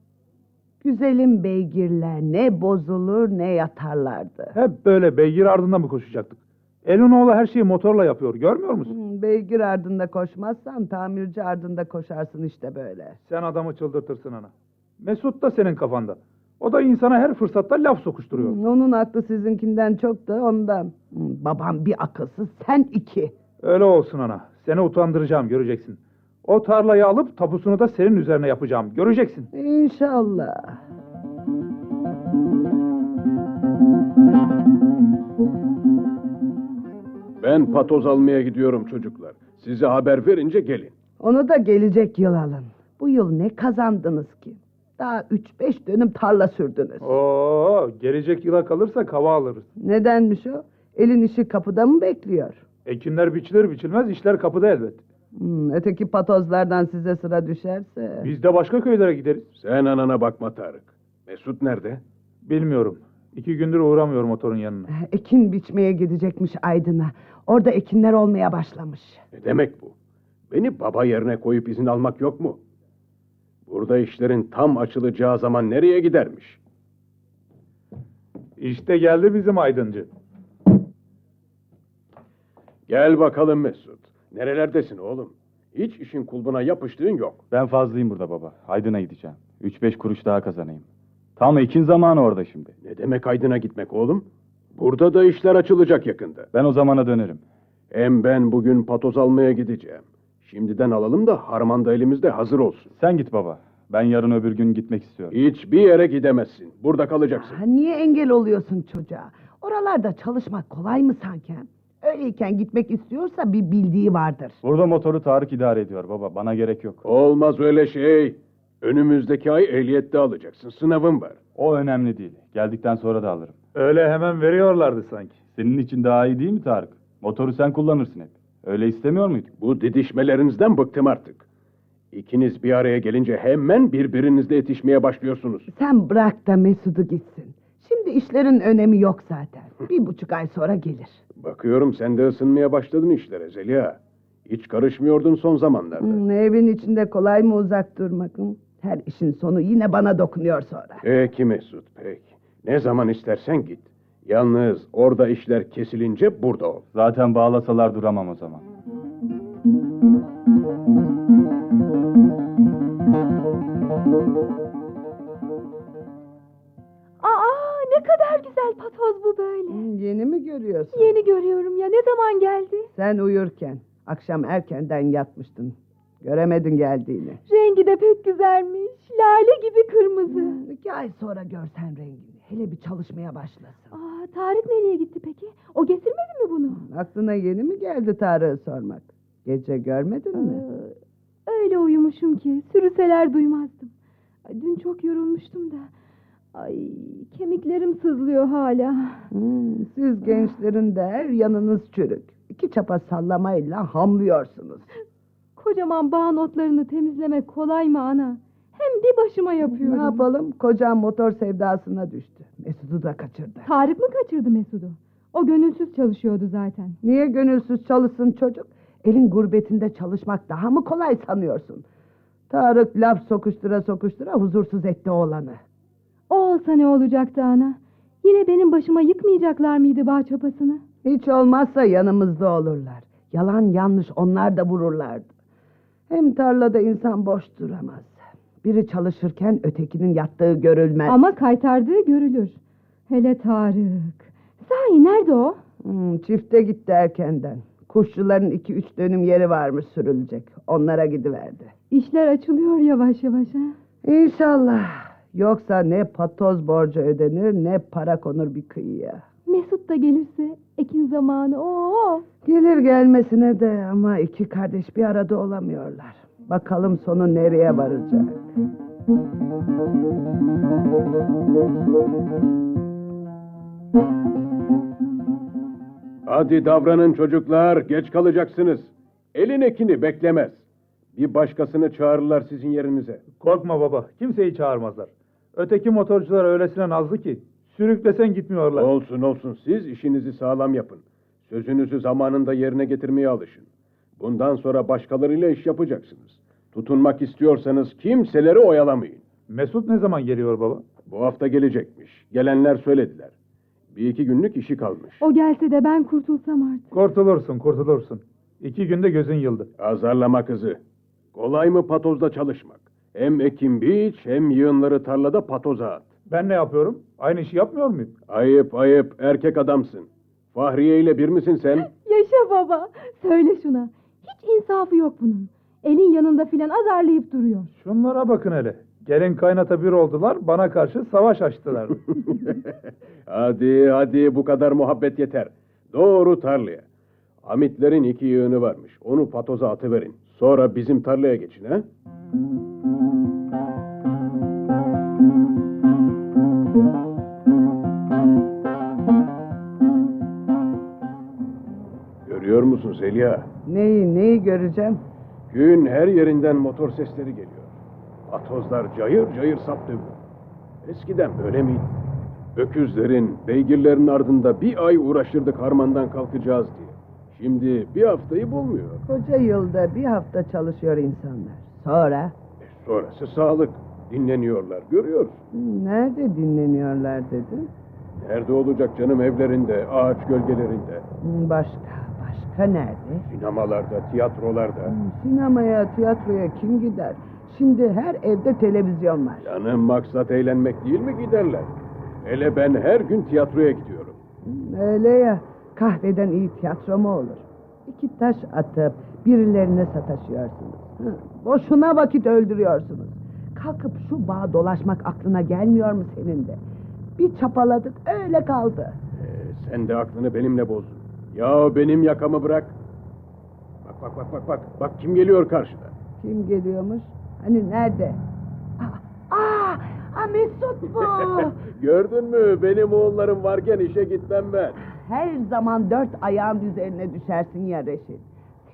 C: Güzelim beygirler ne bozulur ne yatarlardı.
E: Hep böyle beygir ardında mı koşacaktık? Elin oğlu her şeyi motorla yapıyor görmüyor musun?
C: Hmm, Beygir ardında koşmazsan tamirci ardında koşarsın işte böyle.
E: Sen adamı çıldırtırsın ana. Mesut da senin kafanda. O da insana her fırsatta laf sokuşturuyor.
C: Hmm, Onun aklı sizinkinden çok da ondan. Hmm, Babam bir akılsız sen iki.
E: Öyle olsun ana. Seni utandıracağım göreceksin. O tarlayı alıp tapusunu da senin üzerine yapacağım. Göreceksin.
C: İnşallah.
B: Ben patoz almaya gidiyorum çocuklar. Size haber verince gelin.
C: Onu da gelecek yıl alın. Bu yıl ne kazandınız ki? Daha üç beş dönüm tarla sürdünüz.
E: Oo, gelecek yıla kalırsak hava alırız.
C: Nedenmiş o? Elin işi kapıda mı bekliyor?
E: Ekinler biçilir biçilmez işler kapıda elbet.
C: Hmm, öteki patozlardan size sıra düşerse.
E: Biz de başka köylere gideriz.
B: Sen anana bakma Tarık. Mesut nerede?
E: Bilmiyorum. İki gündür uğramıyor motorun yanına.
C: Ekin biçmeye gidecekmiş Aydın'a. Orada ekinler olmaya başlamış.
B: Ne demek bu? Beni baba yerine koyup izin almak yok mu? Burada işlerin tam açılacağı zaman nereye gidermiş?
E: İşte geldi bizim aydıncı.
B: Gel bakalım Mesut. Nerelerdesin oğlum? Hiç işin kulbuna yapıştığın yok.
K: Ben fazlayım burada baba. Aydın'a gideceğim. 3-5 kuruş daha kazanayım. Tam ekin zamanı orada şimdi.
B: Ne demek Aydın'a gitmek oğlum? Burada da işler açılacak yakında.
K: Ben o zamana dönerim.
B: Hem ben bugün patoz almaya gideceğim. Şimdiden alalım da harmanda elimizde hazır olsun.
K: Sen git baba. Ben yarın öbür gün gitmek istiyorum.
B: Hiçbir yere gidemezsin. Burada kalacaksın.
C: Ha, niye engel oluyorsun çocuğa? Oralarda çalışmak kolay mı sanki? Öyleyken gitmek istiyorsa bir bildiği vardır.
K: Burada motoru Tarık idare ediyor baba. Bana gerek yok.
B: Olmaz öyle şey. Önümüzdeki ay ehliyette alacaksın. Sınavın var.
K: O önemli değil. Geldikten sonra da alırım.
E: Öyle hemen veriyorlardı sanki.
K: Senin için daha iyi değil mi Tarık? Motoru sen kullanırsın hep. Öyle istemiyor muydun?
B: Bu didişmelerinizden bıktım artık. İkiniz bir araya gelince hemen birbirinizle yetişmeye başlıyorsunuz.
C: Sen bırak da Mesut'u gitsin. Şimdi işlerin önemi yok zaten. Bir buçuk ay sonra gelir.
B: Bakıyorum sen de ısınmaya başladın işlere Zeliha. Hiç karışmıyordun son zamanlarda.
C: Hmm, evin içinde kolay mı uzak durmak? hı? Her işin sonu yine bana dokunuyor sonra.
B: Peki Mesut, peki. Ne zaman istersen git. Yalnız orada işler kesilince burada ol.
K: Zaten bağlasalar duramam o zaman.
D: Aa ne kadar güzel patoz bu böyle.
C: Hmm, Yeni mi görüyorsun?
D: Yeni görüyorum ya ne zaman geldi?
C: Sen uyurken, akşam erkenden yatmıştın. Göremedin geldiğini.
D: Rengi de pek güzelmiş. Lale gibi kırmızı.
H: Hmm,
C: İki ay sonra görsen rengini. Hele bir çalışmaya başlasın.
D: Aa Tarık nereye gitti peki? O getirmedi mi bunu?
C: Aklına yeni mi geldi Tarık'ı sormak? Gece görmedin mi?
D: Ee, Öyle uyumuşum ki sürüseler duymazdım. Ay, Dün çok yorulmuştum da. Ay kemiklerim sızlıyor hala.
C: Hmm, siz gençlerin de her yanınız çürük. İki çapa sallamayla hamlıyorsunuz.
D: Kocaman bağ notlarını temizlemek kolay mı ana? Hem bir başıma yapıyorum.
C: Ne yapalım? Kocam motor sevdasına düştü. Mesut'u da kaçırdı.
D: Tarık mı kaçırdı Mesut'u? O gönülsüz çalışıyordu zaten.
C: Niye gönülsüz çalışsın çocuk? Elin gurbetinde çalışmak daha mı kolay sanıyorsun? Tarık laf sokuştura sokuştura huzursuz etti oğlanı.
D: O olsa ne olacaktı ana? Yine benim başıma yıkmayacaklar mıydı bağ çapasını?
C: Hiç olmazsa yanımızda olurlar. Yalan yanlış onlar da vururlardı. Hem tarlada insan boş duramaz. Biri çalışırken ötekinin yattığı görülmez.
D: Ama kaytardığı görülür. Hele Tarık. Sahi nerede o?
C: Hmm, çifte gitti erkenden. Kuşçuların iki üç dönüm yeri varmış sürülecek. Onlara gidiverdi.
D: İşler açılıyor yavaş yavaş ha.
C: İnşallah. Yoksa ne patoz borcu ödenir ne para konur bir kıyıya.
D: Mesut da gelirse ekin zamanı. Oo.
C: Gelir gelmesine de ama iki kardeş bir arada olamıyorlar. Bakalım sonu nereye varacak.
B: Hadi davranın çocuklar, geç kalacaksınız. Elin ekini beklemez. Bir başkasını çağırırlar sizin yerinize.
E: Korkma baba. Kimseyi çağırmazlar. Öteki motorcular öylesine nazlı ki sürüklesen gitmiyorlar.
B: Olsun olsun, siz işinizi sağlam yapın. Sözünüzü zamanında yerine getirmeye alışın. Bundan sonra başkalarıyla iş yapacaksınız. Tutunmak istiyorsanız kimseleri oyalamayın.
E: Mesut ne zaman geliyor baba?
B: Bu hafta gelecekmiş. Gelenler söylediler. Bir iki günlük işi kalmış.
D: O gelse de ben kurtulsam artık.
E: Kurtulursun, kurtulursun. İki günde gözün yıldı.
B: Azarlama kızı. Kolay mı patozda çalışmak? Hem ekim biç hem yığınları tarlada patoza at.
E: Ben ne yapıyorum? Aynı işi yapmıyor muyum?
B: Ayıp ayıp erkek adamsın. Fahriye ile bir misin sen?
D: Yaşa baba. Söyle şuna. Hiç insafı yok bunun. Elin yanında filan azarlayıp duruyor.
E: Şunlara bakın hele. Gelin kaynata bir oldular, bana karşı savaş açtılar.
B: hadi hadi bu kadar muhabbet yeter. Doğru tarlaya. Hamitlerin iki yığını varmış. Onu patoza atıverin. Sonra bizim tarlaya geçin ha?
D: Hmm.
B: Görüyor musun Zeliha?
C: Neyi neyi göreceğim?
B: Gün her yerinden motor sesleri geliyor. Atozlar cayır cayır sap dövüyor. Eskiden böyle miydi? Öküzlerin, beygirlerin ardında bir ay uğraşırdık harmandan kalkacağız diye. Şimdi bir haftayı bulmuyor.
C: Koca yılda bir hafta çalışıyor insanlar. Sonra?
B: E, sonrası sağlık. Dinleniyorlar, görüyoruz.
C: "Hmm, Nerede dinleniyorlar dedin?
B: Nerede olacak canım evlerinde, ağaç gölgelerinde,
C: Hmm, Başka, başka nerede?
B: sinemalarda, tiyatrolarda.
C: Hmm, Sinemaya, tiyatroya kim gider? Şimdi her evde televizyon var.
B: Canım maksat eğlenmek değil mi giderler? Hele ben her gün tiyatroya gidiyorum.
C: Hmm, Öyle ya, kahveden iyi tiyatro mu olur? İki taş atıp birilerine sataşıyorsunuz. Hı, Boşuna vakit öldürüyorsunuz. Kalkıp şu bağa dolaşmak aklına gelmiyor mu senin de? Bir çapaladık öyle kaldı.
B: Ee, sen de aklını benimle bozdun. Ya benim yakamı bırak. Bak bak bak bak bak. Bak kim geliyor karşıda.
C: Kim geliyormuş? Hani nerede? Aa, aa, aa Mesut bu.
B: Gördün mü benim oğullarım varken işe gitmem ben.
C: Her zaman dört ayağın üzerine düşersin ya Reşit.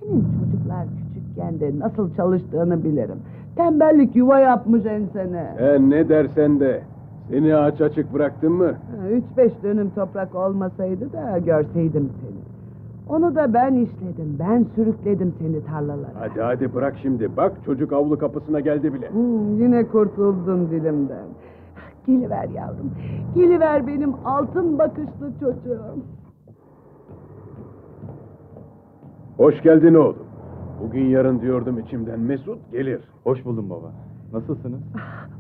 C: Senin çocuklar küçükken de nasıl çalıştığını bilirim. Tembellik yuva yapmış ensene.
B: Sen E, ne dersen de. Seni aç açık bıraktın mı?
C: Ha, Üç beş dönüm toprak olmasaydı da görseydim seni. Onu da ben işledim, ben sürükledim seni tarlalara.
B: Hadi hadi bırak şimdi. Bak çocuk avlu kapısına geldi bile.
C: Hmm, yine kurtuldun dilimden. Geliver yavrum, geliver benim altın bakışlı çocuğum.
B: Hoş geldin oğlum. Bugün yarın diyordum içimden Mesut gelir.
K: Hoş buldum baba. Nasılsınız?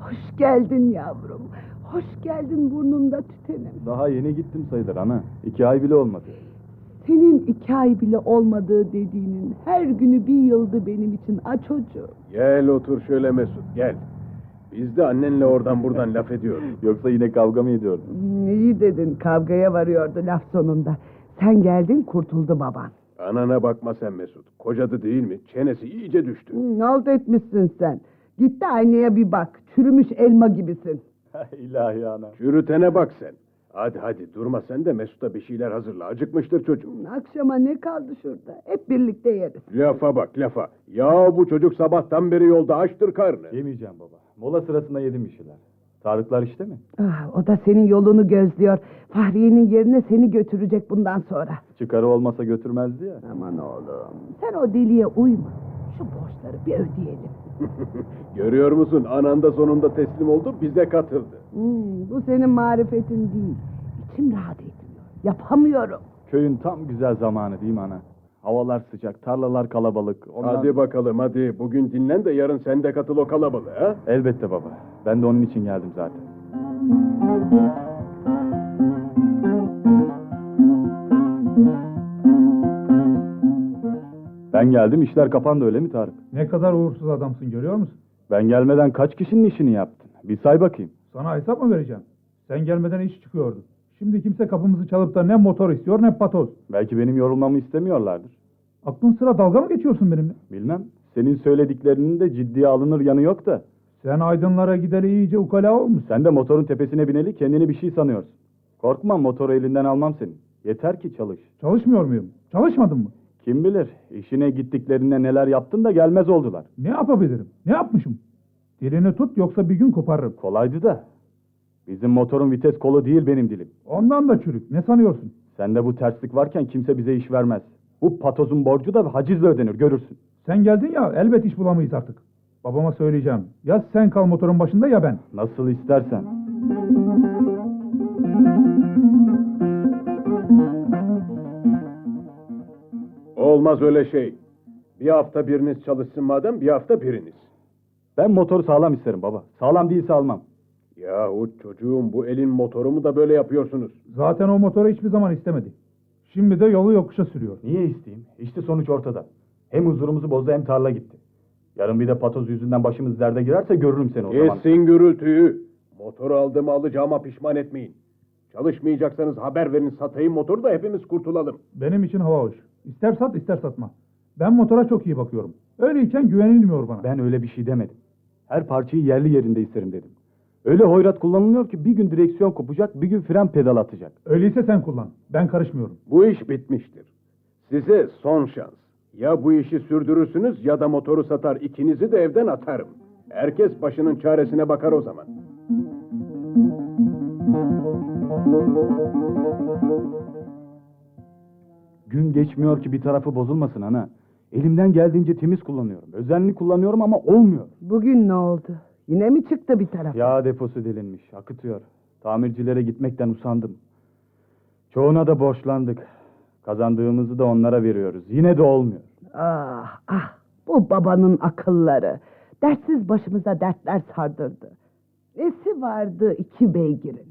C: Hoş geldin yavrum, hoş geldin burnumda tütenim.
K: Daha yeni gittim sayılır ana. İki ay bile olmadı.
C: Senin iki ay bile olmadığı dediğinin her günü bir yıldı benim için a çocuğum.
B: Gel otur şöyle Mesut gel. Biz de annenle oradan buradan laf ediyoruz.
K: Yoksa yine kavga mı ediyordun?
C: Hmm, İyi dedin, kavgaya varıyordu laf sonunda. Sen geldin, kurtuldu baban.
B: Anana bakma sen Mesut. Kocadı değil mi? Çenesi iyice düştü.
C: Hmm, alt etmişsin sen. Git de aynaya bir bak, çürümüş elma gibisin.
K: İlahi ana.
B: Yürütene bak sen. Hadi hadi durma sen de Mesut'a bir şeyler hazırla. Acıkmıştır çocuk.
C: Akşama ne kaldı şurada? Hep birlikte yeriz.
B: Lafa bak lafa. Ya bu çocuk sabahtan beri yolda açtır karnı.
K: Yemeyeceğim baba. Mola sırasında yedim bir şeyler. Tarıklar işte mi?
C: Ah, o da senin yolunu gözlüyor. Fahriye'nin yerine seni götürecek bundan sonra.
K: Çıkarı olmasa götürmezdi ya.
C: Aman oğlum. Sen o deliye uyma. Şu borçları bir ödeyelim.
B: Görüyor musun? Ananda sonunda teslim oldu bize katıldı.
C: Hmm, bu senin marifetin değil. İçim rahat etmiyor. Yapamıyorum.
K: Köyün tam güzel zamanı değil mi ana? Havalar sıcak, tarlalar kalabalık. Ondan...
B: Hadi bakalım hadi. Bugün dinlen de yarın sen de katıl o kalabalığa.
K: Elbette baba. Ben de onun için geldim zaten. Ben geldim işler kapandı öyle mi Tarık?
E: Ne kadar uğursuz adamsın görüyor musun?
K: Ben gelmeden kaç kişinin işini yaptın? Bir say bakayım.
E: Sana hesap mı vereceğim? Sen gelmeden iş çıkıyordu. Şimdi kimse kapımızı çalıp da ne motor istiyor ne patoz.
K: Belki benim yorulmamı istemiyorlardır.
E: Aklın sıra dalga mı geçiyorsun benimle?
K: Bilmem. Senin söylediklerinin de ciddiye alınır yanı yok da.
E: Sen aydınlara gideli iyice ukala olmuş.
K: Sen de motorun tepesine bineli kendini bir şey sanıyorsun. Korkma motoru elinden almam senin. Yeter ki çalış.
E: Çalışmıyor muyum? Çalışmadın mı?
K: Kim bilir işine gittiklerinde neler yaptın da gelmez oldular.
E: Ne yapabilirim? Ne yapmışım? Dilini tut yoksa bir gün koparırım.
K: Kolaydı da. Bizim motorun vites kolu değil benim dilim.
E: Ondan da çürük. Ne sanıyorsun?
K: Sende bu terslik varken kimse bize iş vermez. Bu patozun borcu da hacizle ödenir görürsün.
E: Sen geldin ya elbet iş bulamayız artık. Babama söyleyeceğim. Ya sen kal motorun başında ya ben.
K: Nasıl istersen.
B: Olmaz öyle şey. Bir hafta biriniz çalışsın madem, bir hafta biriniz.
K: Ben motoru sağlam isterim baba. Sağlam değilse almam.
B: Yahu çocuğum bu elin motorumu da böyle yapıyorsunuz.
E: Zaten o motoru hiçbir zaman istemedi. Şimdi de yolu yokuşa sürüyor.
K: Niye isteyeyim? İşte sonuç ortada. Hem huzurumuzu bozdu hem tarla gitti. Yarın bir de patoz yüzünden başımız derde girerse görürüm seni o zaman.
B: Kesin gürültüyü. Motor aldığımı alacağıma pişman etmeyin. Çalışmayacaksanız haber verin satayım motoru da hepimiz kurtulalım.
E: Benim için hava hoş. İster sat ister satma. Ben motora çok iyi bakıyorum. Öyleyken güvenilmiyor bana.
K: Ben öyle bir şey demedim. Her parçayı yerli yerinde isterim dedim. Öyle hoyrat kullanılıyor ki bir gün direksiyon kopacak, bir gün fren pedal atacak.
E: Öyleyse sen kullan. Ben karışmıyorum.
B: Bu iş bitmiştir. Size son şans. Ya bu işi sürdürürsünüz ya da motoru satar ikinizi de evden atarım. Herkes başının çaresine bakar o zaman.
K: Gün geçmiyor ki bir tarafı bozulmasın ana. Elimden geldiğince temiz kullanıyorum. Özenli kullanıyorum ama olmuyor.
C: Bugün ne oldu? Yine mi çıktı bir taraf?
K: Yağ deposu delinmiş, akıtıyor. Tamircilere gitmekten usandım. Çoğuna da borçlandık. Kazandığımızı da onlara veriyoruz. Yine de olmuyor.
C: Ah ah bu babanın akılları. Dertsiz başımıza dertler sardırdı. Nesi vardı iki beygirin?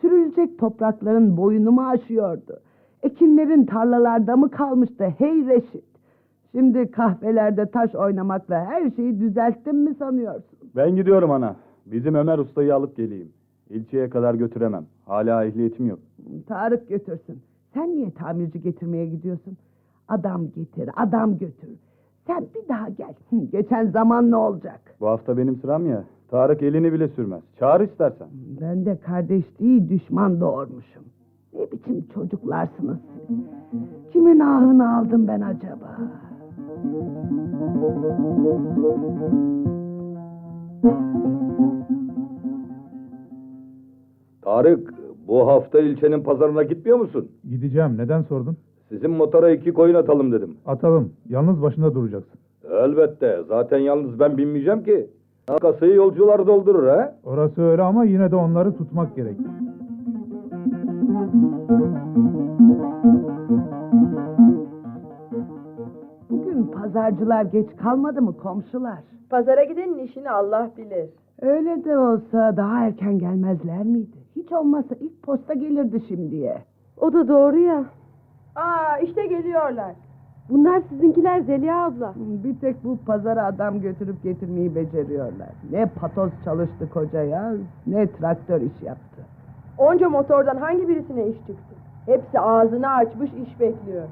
C: Sürülecek toprakların boyunu mu aşıyordu? Ekinlerin tarlalarda mı kalmıştı hey reşit? Şimdi kahvelerde taş oynamakla her şeyi düzelttin mi sanıyorsun?
K: Ben gidiyorum ana. Bizim Ömer ustayı alıp geleyim. İlçeye kadar götüremem. Hala ehliyetim yok.
C: Tarık götürsün. Sen niye tamirci getirmeye gidiyorsun? Adam getir, adam götür. Sen bir daha gel. Hı, Geçen zaman ne olacak?
K: Bu hafta benim sıram ya. Tarık elini bile sürmez. Çağır istersen.
C: Ben de kardeş değil düşman doğurmuşum. Ne biçim çocuklarsınız siz? Kimin ahını aldım ben acaba?
I: Tarık, bu hafta ilçenin pazarına gitmiyor musun?
E: Gideceğim. Neden sordun?
I: Sizin motora iki koyun atalım dedim.
E: Atalım. Yalnız başında duracaksın.
I: Elbette, zaten yalnız ben binmeyeceğim ki. Kasayı yolcular doldurur ha?
E: Orası öyle ama yine de onları tutmak gerek.
C: Bugün pazarcılar geç kalmadı mı komşular?
H: Pazara gidenin işini Allah bilir.
C: Öyle de olsa daha erken gelmezler miydi? Hiç olmazsa ilk posta gelirdi şimdiye.
D: O da doğru ya.
H: Aa işte geliyorlar.
D: Bunlar sizinkiler Zeliha abla.
C: Bir tek bu pazara adam götürüp getirmeyi beceriyorlar. Ne patoz çalıştı koca yaz, ne traktör iş yaptı.
H: Onca motordan hangi birisine iş çıktı? Hepsi ağzını açmış iş bekliyor.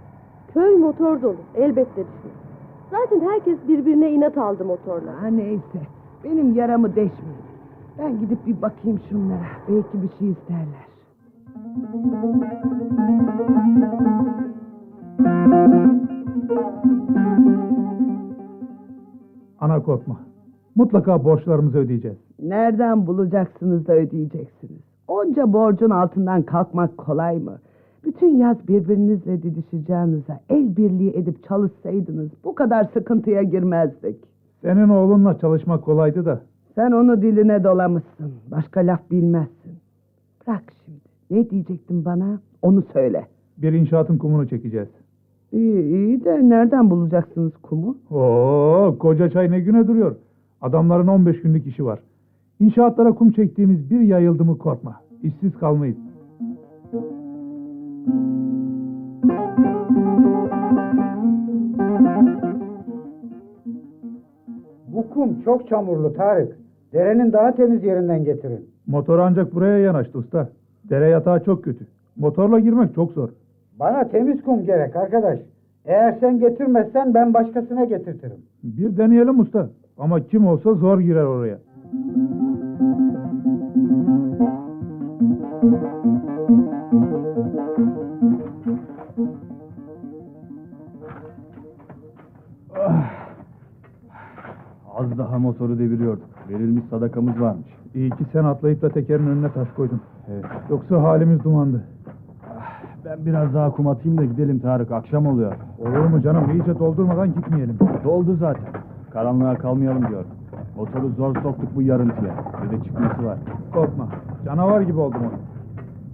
D: Köy motor dolu. Elbette düşün. Zaten herkes birbirine inat aldı motorla.
C: Ha neyse, benim yaramı deşmeyin. Ben gidip bir bakayım şunlara. Belki bir şey isterler.
E: Ana korkma. Mutlaka borçlarımızı ödeyeceğiz.
C: Nereden bulacaksınız da ödeyeceksiniz? Onca borcun altından kalkmak kolay mı? Bütün yaz birbirinizle didişeceğinize el birliği edip çalışsaydınız bu kadar sıkıntıya girmezdik.
E: Senin oğlunla çalışmak kolaydı da.
C: Sen onu diline dolamışsın. Başka laf bilmezsin. Bırak şimdi. Ne diyecektin bana? Onu söyle.
E: Bir inşaatın kumunu çekeceğiz.
C: İyi, iyi de nereden bulacaksınız kumu?
E: Oo, koca çay ne güne duruyor. Adamların 15 günlük işi var. İnşaatlara kum çektiğimiz bir yayıldı mı korkma. İşsiz kalmayız.
G: Bu kum çok çamurlu Tarık. Derenin daha temiz yerinden getirin.
E: Motor ancak buraya yanaştı usta. Dere yatağı çok kötü. Motorla girmek çok zor.
G: Bana temiz kum gerek arkadaş. Eğer sen getirmezsen ben başkasına getirtirim.
E: Bir deneyelim usta. Ama kim olsa zor girer oraya.
K: Az daha motoru deviriyorduk. Verilmiş sadakamız varmış.
E: İyi ki sen atlayıp da tekerin önüne taş koydun.
K: Evet.
E: Yoksa halimiz dumandı.
K: Ben biraz daha kum atayım da gidelim Tarık. Akşam oluyor.
E: Olur mu canım? İyice doldurmadan gitmeyelim.
K: Doldu zaten. Karanlığa kalmayalım diyor. Motoru zor soktuk bu yarıntıya. Bir de çıkması var.
E: Korkma. Canavar gibi oldum onu.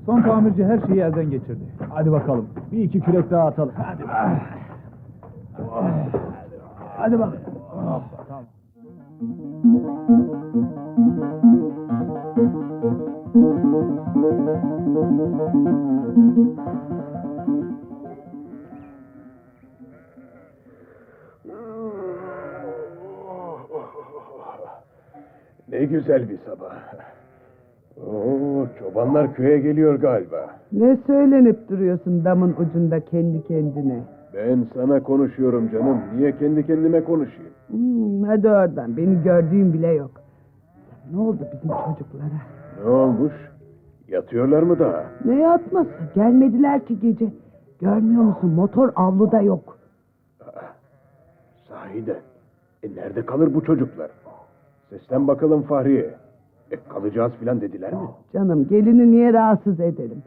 E: Son tamirci her şeyi elden geçirdi.
K: Hadi bakalım. Bir iki kürek daha atalım. Hadi bakalım. Hadi bakalım. Tamam.
B: Ne güzel bir sabah. Oo, çobanlar köye geliyor galiba.
C: Ne söylenip duruyorsun damın ucunda kendi kendine?
B: Ben sana konuşuyorum canım. Niye kendi kendime konuşayım?
C: Hmm, hadi oradan beni gördüğün bile yok. Ne oldu bizim çocuklara?
B: Ne olmuş? Yatıyorlar mı daha?
C: Ne yatması gelmediler ki gece. Görmüyor musun motor avluda yok.
B: Sahiden. E nerede kalır bu çocuklar? Seslen bakalım Fahriye. E kalacağız filan dediler mi?
C: Canım gelini niye rahatsız edelim?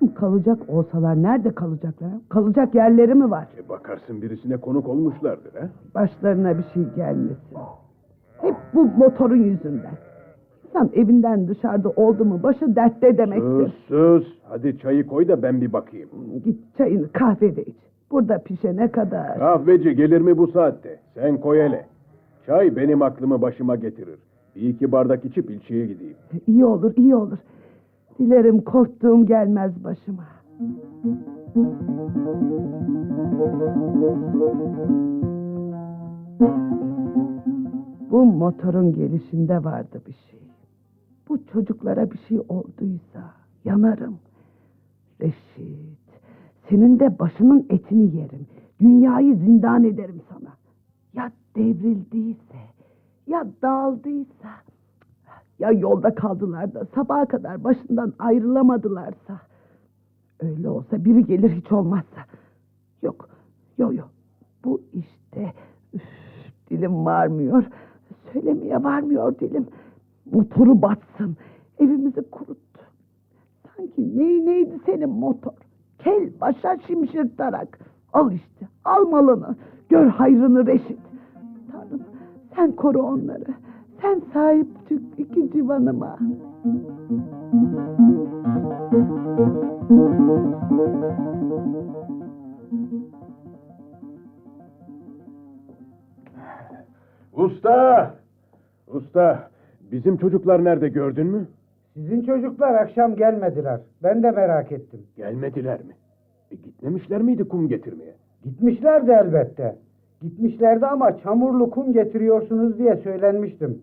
C: Hem kalacak olsalar nerede kalacaklar? Kalacak yerleri mi var?
B: E bakarsın birisine konuk olmuşlardır ha?
C: Başlarına bir şey gelmesin. Hep bu motorun yüzünden. İnsan evinden dışarıda oldu mu başı dertte demektir.
B: Sus sus. Hadi çayı koy da ben bir bakayım.
C: Git çayını kahvede iç. Burada pişene kadar.
B: Kahveci gelir mi bu saatte? Sen koy hele. Çay benim aklımı başıma getirir. Bir iki bardak içip ilçeye gideyim.
C: İyi olur, iyi olur. Dilerim korktuğum gelmez başıma. Bu motorun gelişinde vardı bir şey. Bu çocuklara bir şey olduysa yanarım. Reşit, senin de başının etini yerim. Dünyayı zindan ederim sana. Ya devrildiyse, ya daldıysa, ya yolda kaldılar da sabaha kadar başından ayrılamadılarsa. Öyle olsa biri gelir hiç olmazsa. Yok, yok yok. Bu işte üf, dilim varmıyor. Söylemeye varmıyor dilim. Motoru batsın. Evimizi kuruttu. Sanki ney neydi senin motor? Kel başa şimşirtarak. Al işte, al malını. Gör hayrını reşit. Tanrım sen koru onları. Sen sahip çık iki civanıma.
B: Usta! Usta! Bizim çocuklar nerede gördün mü?
G: Sizin çocuklar akşam gelmediler. Ben de merak ettim.
B: Gelmediler mi? E, gitmemişler miydi kum getirmeye?
G: Gitmişlerdi elbette. Gitmişlerdi ama çamurlu kum getiriyorsunuz diye söylenmiştim.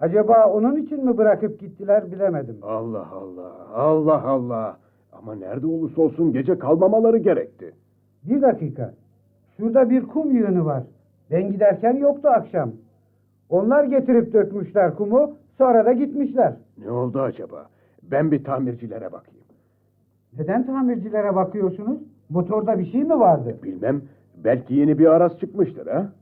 G: Acaba onun için mi bırakıp gittiler bilemedim.
B: Allah Allah, Allah Allah. Ama nerede olursa olsun gece kalmamaları gerekti.
G: Bir dakika. Şurada bir kum yığını var. Ben giderken yoktu akşam. Onlar getirip dökmüşler kumu, sonra da gitmişler.
B: Ne oldu acaba? Ben bir tamircilere bakayım.
G: Neden tamircilere bakıyorsunuz? Motorda bir şey mi vardı?
B: Bilmem, belki yeni bir aras çıkmıştır ha?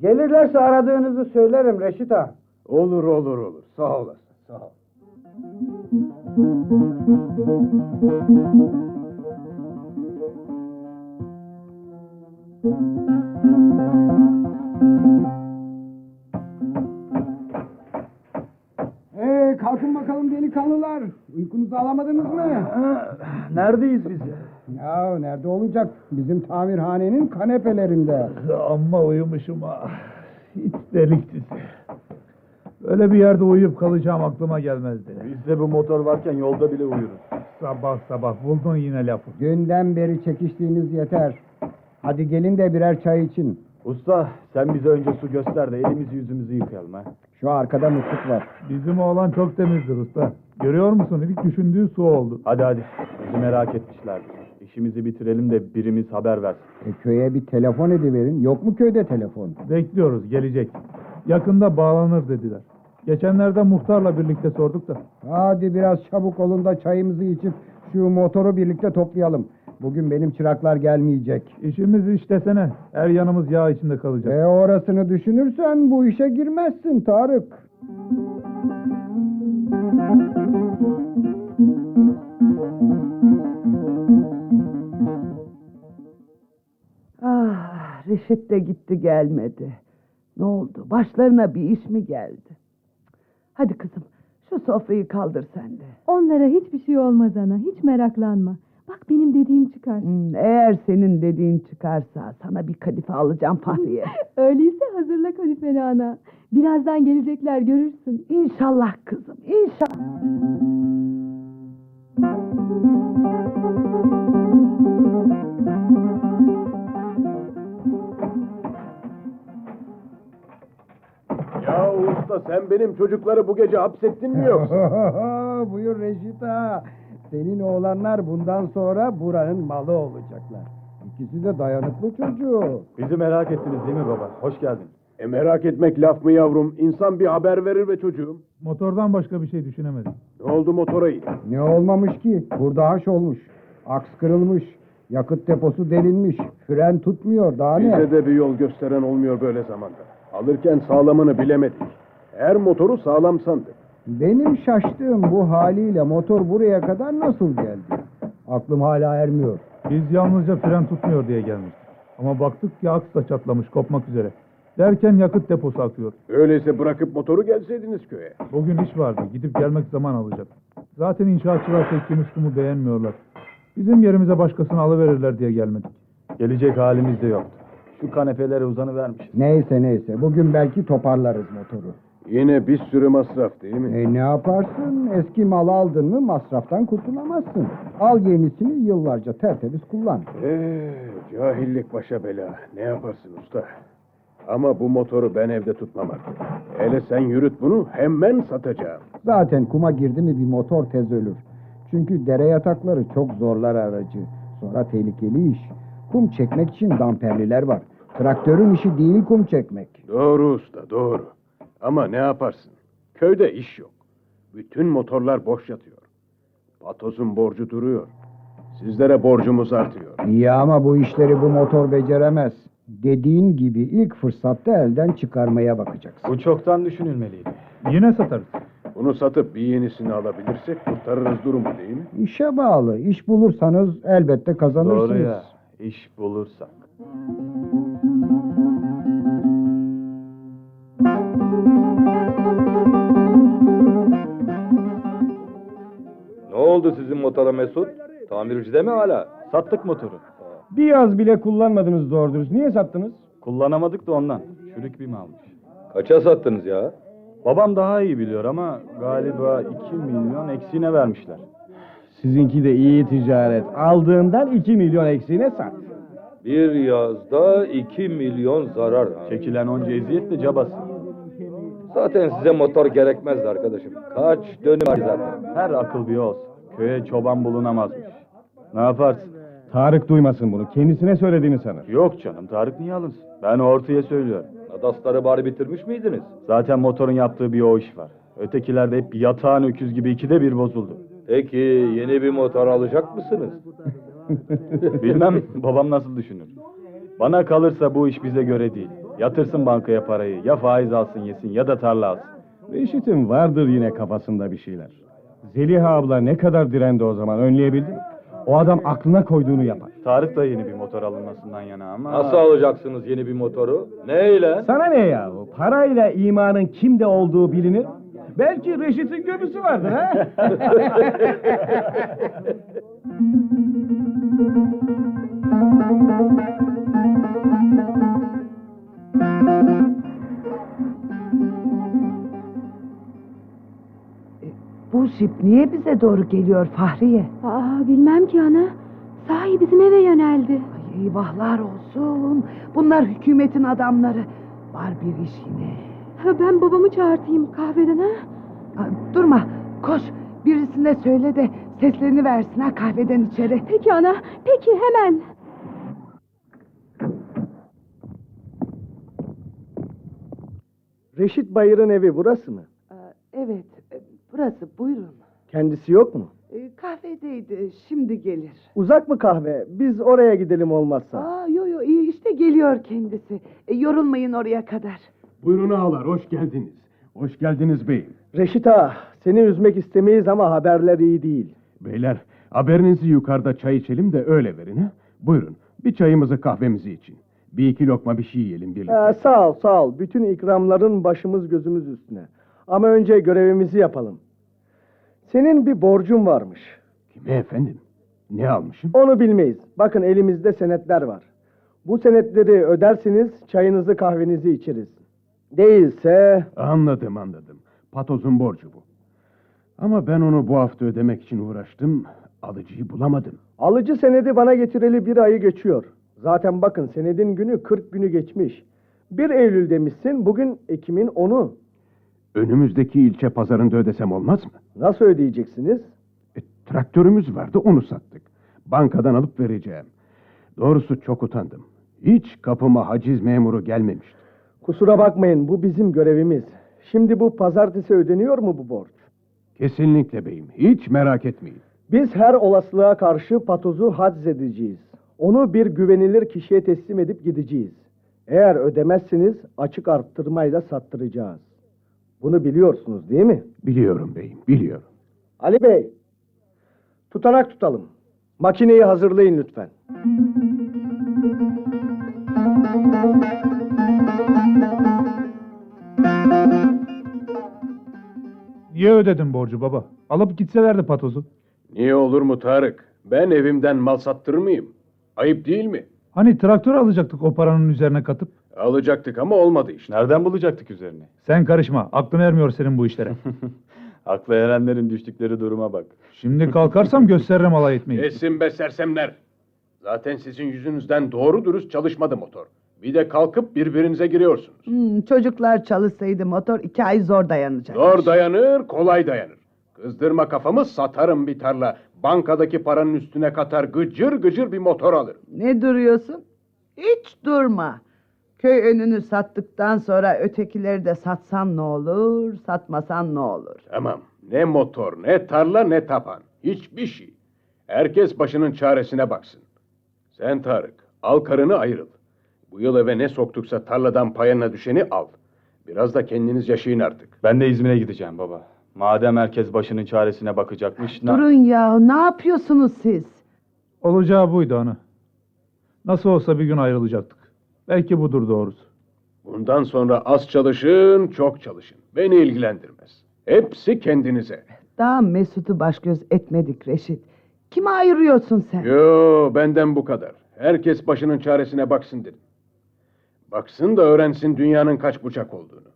G: Gelirlerse aradığınızı söylerim Reşit Ağa.
B: Olur olur olur, sağ olasın, sağ ol.
L: Ee, kalkın bakalım delikanlılar. Uykunuzu alamadınız mı?
E: Neredeyiz biz?
L: Ya nerede olacak? Bizim tamirhanenin kanepelerinde.
E: Amma uyumuşum ha. Hiç delik dizi. Böyle bir yerde uyuyup kalacağım aklıma gelmezdi.
I: Bizde bu motor varken yolda bile uyuruz.
E: Sabah sabah buldun yine lafı.
L: Dünden beri çekiştiğiniz yeter. Hadi gelin de birer çay için.
K: Usta sen bize önce su göster de elimizi yüzümüzü yıkayalım ha.
L: Şu arkada musluk var.
E: Bizim oğlan çok temizdir usta. Görüyor musun? İlk düşündüğü su oldu.
K: Hadi hadi. Bizi merak etmişlerdir. İşimizi bitirelim de birimiz haber versin.
L: E, köye bir telefon ediverin. Yok mu köyde telefon?
E: Bekliyoruz gelecek. Yakında bağlanır dediler. Geçenlerde muhtarla birlikte sorduk da.
L: Hadi biraz çabuk olun da çayımızı içip şu motoru birlikte toplayalım. Bugün benim çıraklar gelmeyecek.
E: İşimiz işlesene. Her yanımız yağ içinde kalacak.
L: E orasını düşünürsen bu işe girmezsin Tarık.
C: Ah, Reşit de gitti gelmedi. Ne oldu? Başlarına bir iş mi geldi? Hadi kızım şu sofrayı kaldır sen de.
D: Onlara hiçbir şey olmaz ana. Hiç meraklanma. Bak benim dediğim çıkar.
C: Hmm, eğer senin dediğin çıkarsa sana bir kadife alacağım Fahriye.
D: Öyleyse hazırla kadifeni ana. Birazdan gelecekler görürsün.
C: İnşallah kızım inşallah.
B: Ya usta sen benim çocukları bu gece hapsettin mi yoksa?
L: Buyur Reşit ağa. Senin oğlanlar bundan sonra buranın malı olacaklar. İkisi de dayanıklı çocuğu.
B: Bizi merak ettiniz değil mi baba? Hoş geldin. E merak etmek laf mı yavrum? İnsan bir haber verir ve çocuğum.
E: Motordan başka bir şey düşünemedim.
B: Ne oldu motora iyi?
L: Ne olmamış ki? Burada haş olmuş. Aks kırılmış. Yakıt deposu delinmiş. Fren tutmuyor. Daha ne?
B: Bize de bir yol gösteren olmuyor böyle zamanda. Alırken sağlamını bilemedik. Eğer motoru sağlam sandık.
L: Benim şaştığım bu haliyle motor buraya kadar nasıl geldi? Aklım hala ermiyor.
E: Biz yalnızca fren tutmuyor diye gelmiştik. Ama baktık ki aks da çatlamış, kopmak üzere. Derken yakıt deposu akıyor.
B: Öyleyse bırakıp motoru gelseydiniz köye.
E: Bugün iş vardı, gidip gelmek zaman alacak. Zaten inşaatçılar çektiğimiz kumu beğenmiyorlar. Bizim yerimize başkasını alıverirler diye gelmedik.
K: Gelecek halimiz de yoktu. Şu kanepelere uzanıvermiş.
L: Neyse neyse bugün belki toparlarız motoru.
B: Yine bir sürü masraf değil mi?
L: E ne yaparsın? Eski mal aldın mı masraftan kurtulamazsın. Al yenisini yıllarca tertemiz kullan.
B: Ee, cahillik başa bela. Ne yaparsın usta? Ama bu motoru ben evde tutmam artık. Hele sen yürüt bunu hemen satacağım.
L: Zaten kuma girdi mi bir motor tez ölür. Çünkü dere yatakları çok zorlar aracı. Sonra tehlikeli iş. Kum çekmek için damperliler var. Traktörün işi değil kum çekmek.
B: Doğru usta doğru. Ama ne yaparsın? Köyde iş yok. Bütün motorlar boş yatıyor. Patos'un borcu duruyor. Sizlere borcumuz artıyor.
L: İyi ama bu işleri bu motor beceremez. Dediğin gibi ilk fırsatta elden çıkarmaya bakacaksın.
K: Bu çoktan düşünülmeliydi.
E: Yine satarız.
B: Bunu satıp bir yenisini alabilirsek kurtarırız durumu değil mi?
L: İşe bağlı. İş bulursanız elbette kazanırsınız.
K: Doğru ya. İş bulursak.
I: Ne oldu sizin motora Mesut? Tamircide mi hala?
K: Sattık motoru.
M: Bir yaz bile kullanmadınız doğru dürüst. Niye sattınız?
K: Kullanamadık da ondan. Çürük bir malmış.
I: Kaça sattınız ya?
K: Babam daha iyi biliyor ama galiba 2 milyon eksiğine vermişler.
M: Sizinki de iyi ticaret. Aldığından 2 milyon eksiğine sat.
I: Bir yazda 2 milyon zarar.
K: Çekilen onca eziyet de cabası.
I: Zaten size motor gerekmezdi arkadaşım. Kaç dönüm var zaten.
K: Her akıl bir olsun. Köye çoban bulunamazmış. Ne yaparsın?
M: Tarık duymasın bunu. Kendisine söylediğini sanır.
K: Yok canım Tarık niye alınsın? Ben ortaya söylüyorum.
I: Adasları bari bitirmiş miydiniz?
K: Zaten motorun yaptığı bir o iş var. Ötekilerde hep yatağın öküz gibi ikide bir bozuldu.
I: Peki yeni bir motor alacak mısınız?
K: Bilmem babam nasıl düşünür. Bana kalırsa bu iş bize göre değil. Yatırsın bankaya parayı. Ya faiz alsın yesin ya da tarla alsın.
M: Reşit'in vardır yine kafasında bir şeyler. Zeliha abla ne kadar direndi o zaman önleyebildi mi? O adam aklına koyduğunu yapar.
K: Tarık da yeni bir motor alınmasından yana ama...
I: Nasıl alacaksınız yeni bir motoru? Neyle?
M: Sana ne ya? Parayla imanın kimde olduğu bilinir. Belki Reşit'in gömüsü vardır ha?
C: Bu jip niye bize doğru geliyor Fahriye?
D: Aa bilmem ki ana. Sahi bizim eve yöneldi.
C: Ay eyvahlar olsun. Bunlar hükümetin adamları. Var bir iş yine.
D: Ha, ben babamı çağırtayım kahveden ha.
C: Ha, durma koş birisine söyle de seslerini versin ha kahveden içeri.
D: Peki ana. Peki hemen.
N: Reşit Bayır'ın evi burası mı?
C: Evet e, burası buyurun. E,
N: Kendisi yok mu?
C: Kahvedeydi şimdi gelir.
N: Uzak mı kahve? Biz oraya gidelim olmazsa.
C: Aa yo yo iyi işte geliyor kendisi. E, yorulmayın oraya kadar.
N: Buyurun ağalar, hoş geldiniz. Hoş geldiniz beyim. Reşit ağa, seni üzmek istemeyiz ama haberler iyi değil.
O: Beyler, haberinizi yukarıda çay içelim de öyle verin ha. Buyurun, bir çayımızı kahvemizi için.
B: Bir iki lokma bir şey yiyelim birlikte.
N: Ee, sağ ol, sağ ol. Bütün ikramların başımız gözümüz üstüne. Ama önce görevimizi yapalım. Senin bir borcun varmış.
B: Kime efendim? Ne almışım?
N: Onu bilmeyiz. Bakın elimizde senetler var. Bu senetleri öderseniz çayınızı kahvenizi içeriz. Değilse...
B: Anladım anladım. Patozun borcu bu. Ama ben onu bu hafta ödemek için uğraştım. Alıcıyı bulamadım.
N: Alıcı senedi bana getireli bir ayı geçiyor. Zaten bakın senedin günü 40 günü geçmiş. 1 Eylül demişsin, bugün Ekim'in 10'u.
B: Önümüzdeki ilçe pazarında ödesem olmaz mı?
N: Nasıl ödeyeceksiniz?
B: Traktörümüz vardı onu sattık. Bankadan alıp vereceğim. Doğrusu çok utandım. Hiç kapıma haciz memuru gelmemişti.
N: Kusura bakmayın, bu bizim görevimiz. Şimdi bu pazartesi ödeniyor mu bu borç?
B: Kesinlikle beyim. Hiç merak etmeyin.
N: Biz her olasılığa karşı patozu haciz edeceğiz. Onu bir güvenilir kişiye teslim edip gideceğiz. Eğer ödemezseniz açık arttırmayla sattıracağız. Bunu biliyorsunuz değil mi?
B: Biliyorum beyim, biliyorum.
N: Ali Bey, tutanak tutalım. Makineyi hazırlayın lütfen.
E: Niye ödedin borcu baba? Alıp gitselerdi patozu.
B: Niye olur mu Tarık? Ben evimden mal sattırır mıyım? Ayıp değil mi?
E: Hani traktör alacaktık o paranın üzerine katıp.
B: Alacaktık ama olmadı işte.
K: Nereden bulacaktık üzerine?
E: Sen karışma. Aklın ermiyor senin bu işlere.
K: Akla erenlerin düştükleri duruma bak.
E: Şimdi kalkarsam gösteririm alay etmeyi.
B: Kesin be sersemler. Zaten sizin yüzünüzden doğru dürüst çalışmadı motor. Bir de kalkıp birbirinize giriyorsunuz.
C: Hmm, çocuklar çalışsaydı motor iki ay zor dayanacak.
B: Zor dayanır, kolay dayanır. Kızdırma kafamı satarım bir tarla. Bankadaki paranın üstüne katar gıcır gıcır bir motor alırım.
C: Ne duruyorsun? Hiç durma. Köy önünü sattıktan sonra ötekileri de satsan ne olur, satmasan ne olur?
B: Tamam. Ne motor, ne tarla, ne tapan. Hiçbir şey. Herkes başının çaresine baksın. Sen Tarık, al karını ayrıl. Bu yıl eve ne soktuksa tarladan payına düşeni al. Biraz da kendiniz yaşayın artık.
K: Ben de İzmir'e gideceğim baba. Madem herkes başının çaresine bakacakmış... na-
C: Durun ya, ne yapıyorsunuz siz?
E: Olacağı buydu ana. Nasıl olsa bir gün ayrılacaktık. Belki budur doğrusu.
B: Bundan sonra az çalışın, çok çalışın. Beni ilgilendirmez. Hepsi kendinize.
C: Daha Mesut'u baş göz etmedik Reşit. Kime ayırıyorsun sen?
B: Yo, benden bu kadar. Herkes başının çaresine baksın dedim. Baksın da öğrensin dünyanın kaç bucak olduğunu.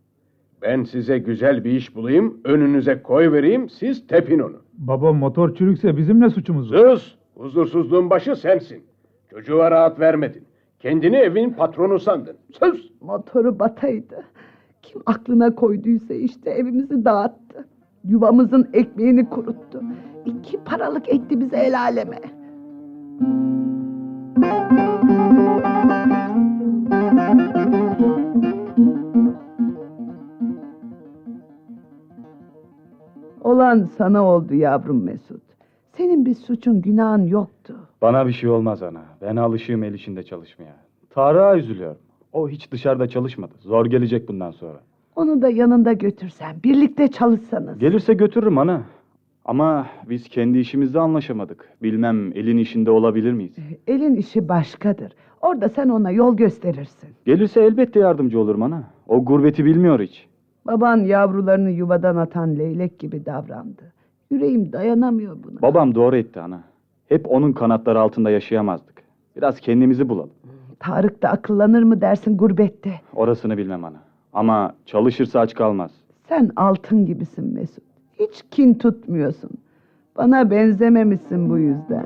B: Ben size güzel bir iş bulayım, önünüze koy vereyim, siz tepin onu.
E: Baba motor çürükse bizim ne suçumuz var?
B: Sus! Huzursuzluğun başı sensin. Çocuğa rahat vermedin. Kendini evin patronu sandın. Sus!
C: Motoru bataydı. Kim aklına koyduysa işte evimizi dağıttı. Yuvamızın ekmeğini kuruttu. İki paralık etti bizi el aleme. Olan sana oldu yavrum Mesut. Senin bir suçun günahın yoktu.
K: Bana bir şey olmaz ana. Ben alışığım el işinde çalışmaya. Tarık'a üzülüyorum. O hiç dışarıda çalışmadı. Zor gelecek bundan sonra.
C: Onu da yanında götürsen, birlikte çalışsanız.
K: Gelirse götürürüm ana. Ama biz kendi işimizde anlaşamadık. Bilmem elin işinde olabilir miyiz?
C: Elin işi başkadır. Orada sen ona yol gösterirsin.
K: Gelirse elbette yardımcı olurum ana. O gurbeti bilmiyor hiç.
C: Baban yavrularını yuvadan atan leylek gibi davrandı. Yüreğim dayanamıyor buna.
K: Babam doğru etti ana. Hep onun kanatları altında yaşayamazdık. Biraz kendimizi bulalım.
C: Tarık da akıllanır mı dersin gurbette.
K: Orasını bilmem ana. Ama çalışırsa aç kalmaz.
C: Sen altın gibisin Mesut. Hiç kin tutmuyorsun. Bana benzememişsin bu yüzden.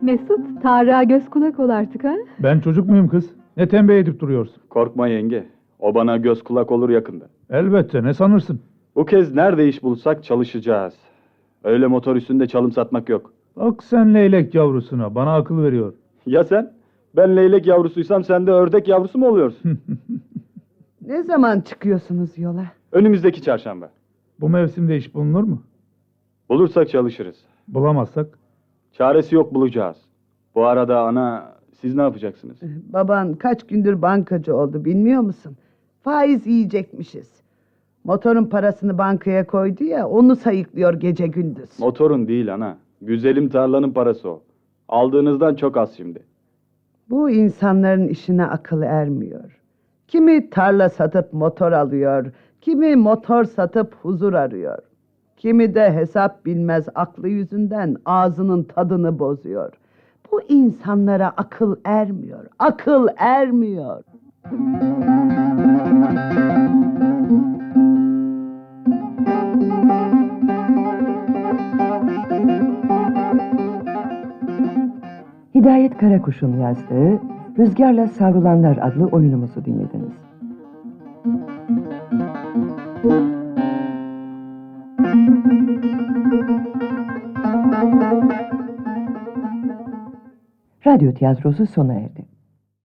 P: Mesut, Tarık'a göz kulak ol artık ha.
E: Ben çocuk muyum kız? Ne tembih edip duruyorsun?
K: Korkma yenge. O bana göz kulak olur yakında.
E: Elbette ne sanırsın?
K: Bu kez nerede iş bulsak çalışacağız. Öyle motor üstünde çalım satmak yok.
E: Bak sen leylek yavrusuna bana akıl veriyor.
K: Ya sen? Ben leylek yavrusuysam sen de ördek yavrusu mu oluyorsun?
C: Ne zaman çıkıyorsunuz yola?
K: Önümüzdeki çarşamba.
E: Bu mevsimde iş bulunur mu?
K: Bulursak çalışırız.
E: Bulamazsak?
K: Çaresi yok bulacağız. Bu arada ana siz ne yapacaksınız?
C: Baban kaç gündür bankacı oldu bilmiyor musun? Faiz yiyecekmişiz. Motorun parasını bankaya koydu ya onu sayıklıyor gece gündüz.
K: Motorun değil ana. Güzelim tarlanın parası o. Aldığınızdan çok az şimdi.
C: Bu insanların işine akıl ermiyor. Kimi tarla satıp motor alıyor, kimi motor satıp huzur arıyor. Kimi de hesap bilmez aklı yüzünden ağzının tadını bozuyor. Bu insanlara akıl ermiyor, akıl ermiyor.
Q: Hidayet Karakuş'un yazdığı Rüzgarla Savrulanlar adlı oyunumuzu dinlediniz. Radyo tiyatrosu sona erdi.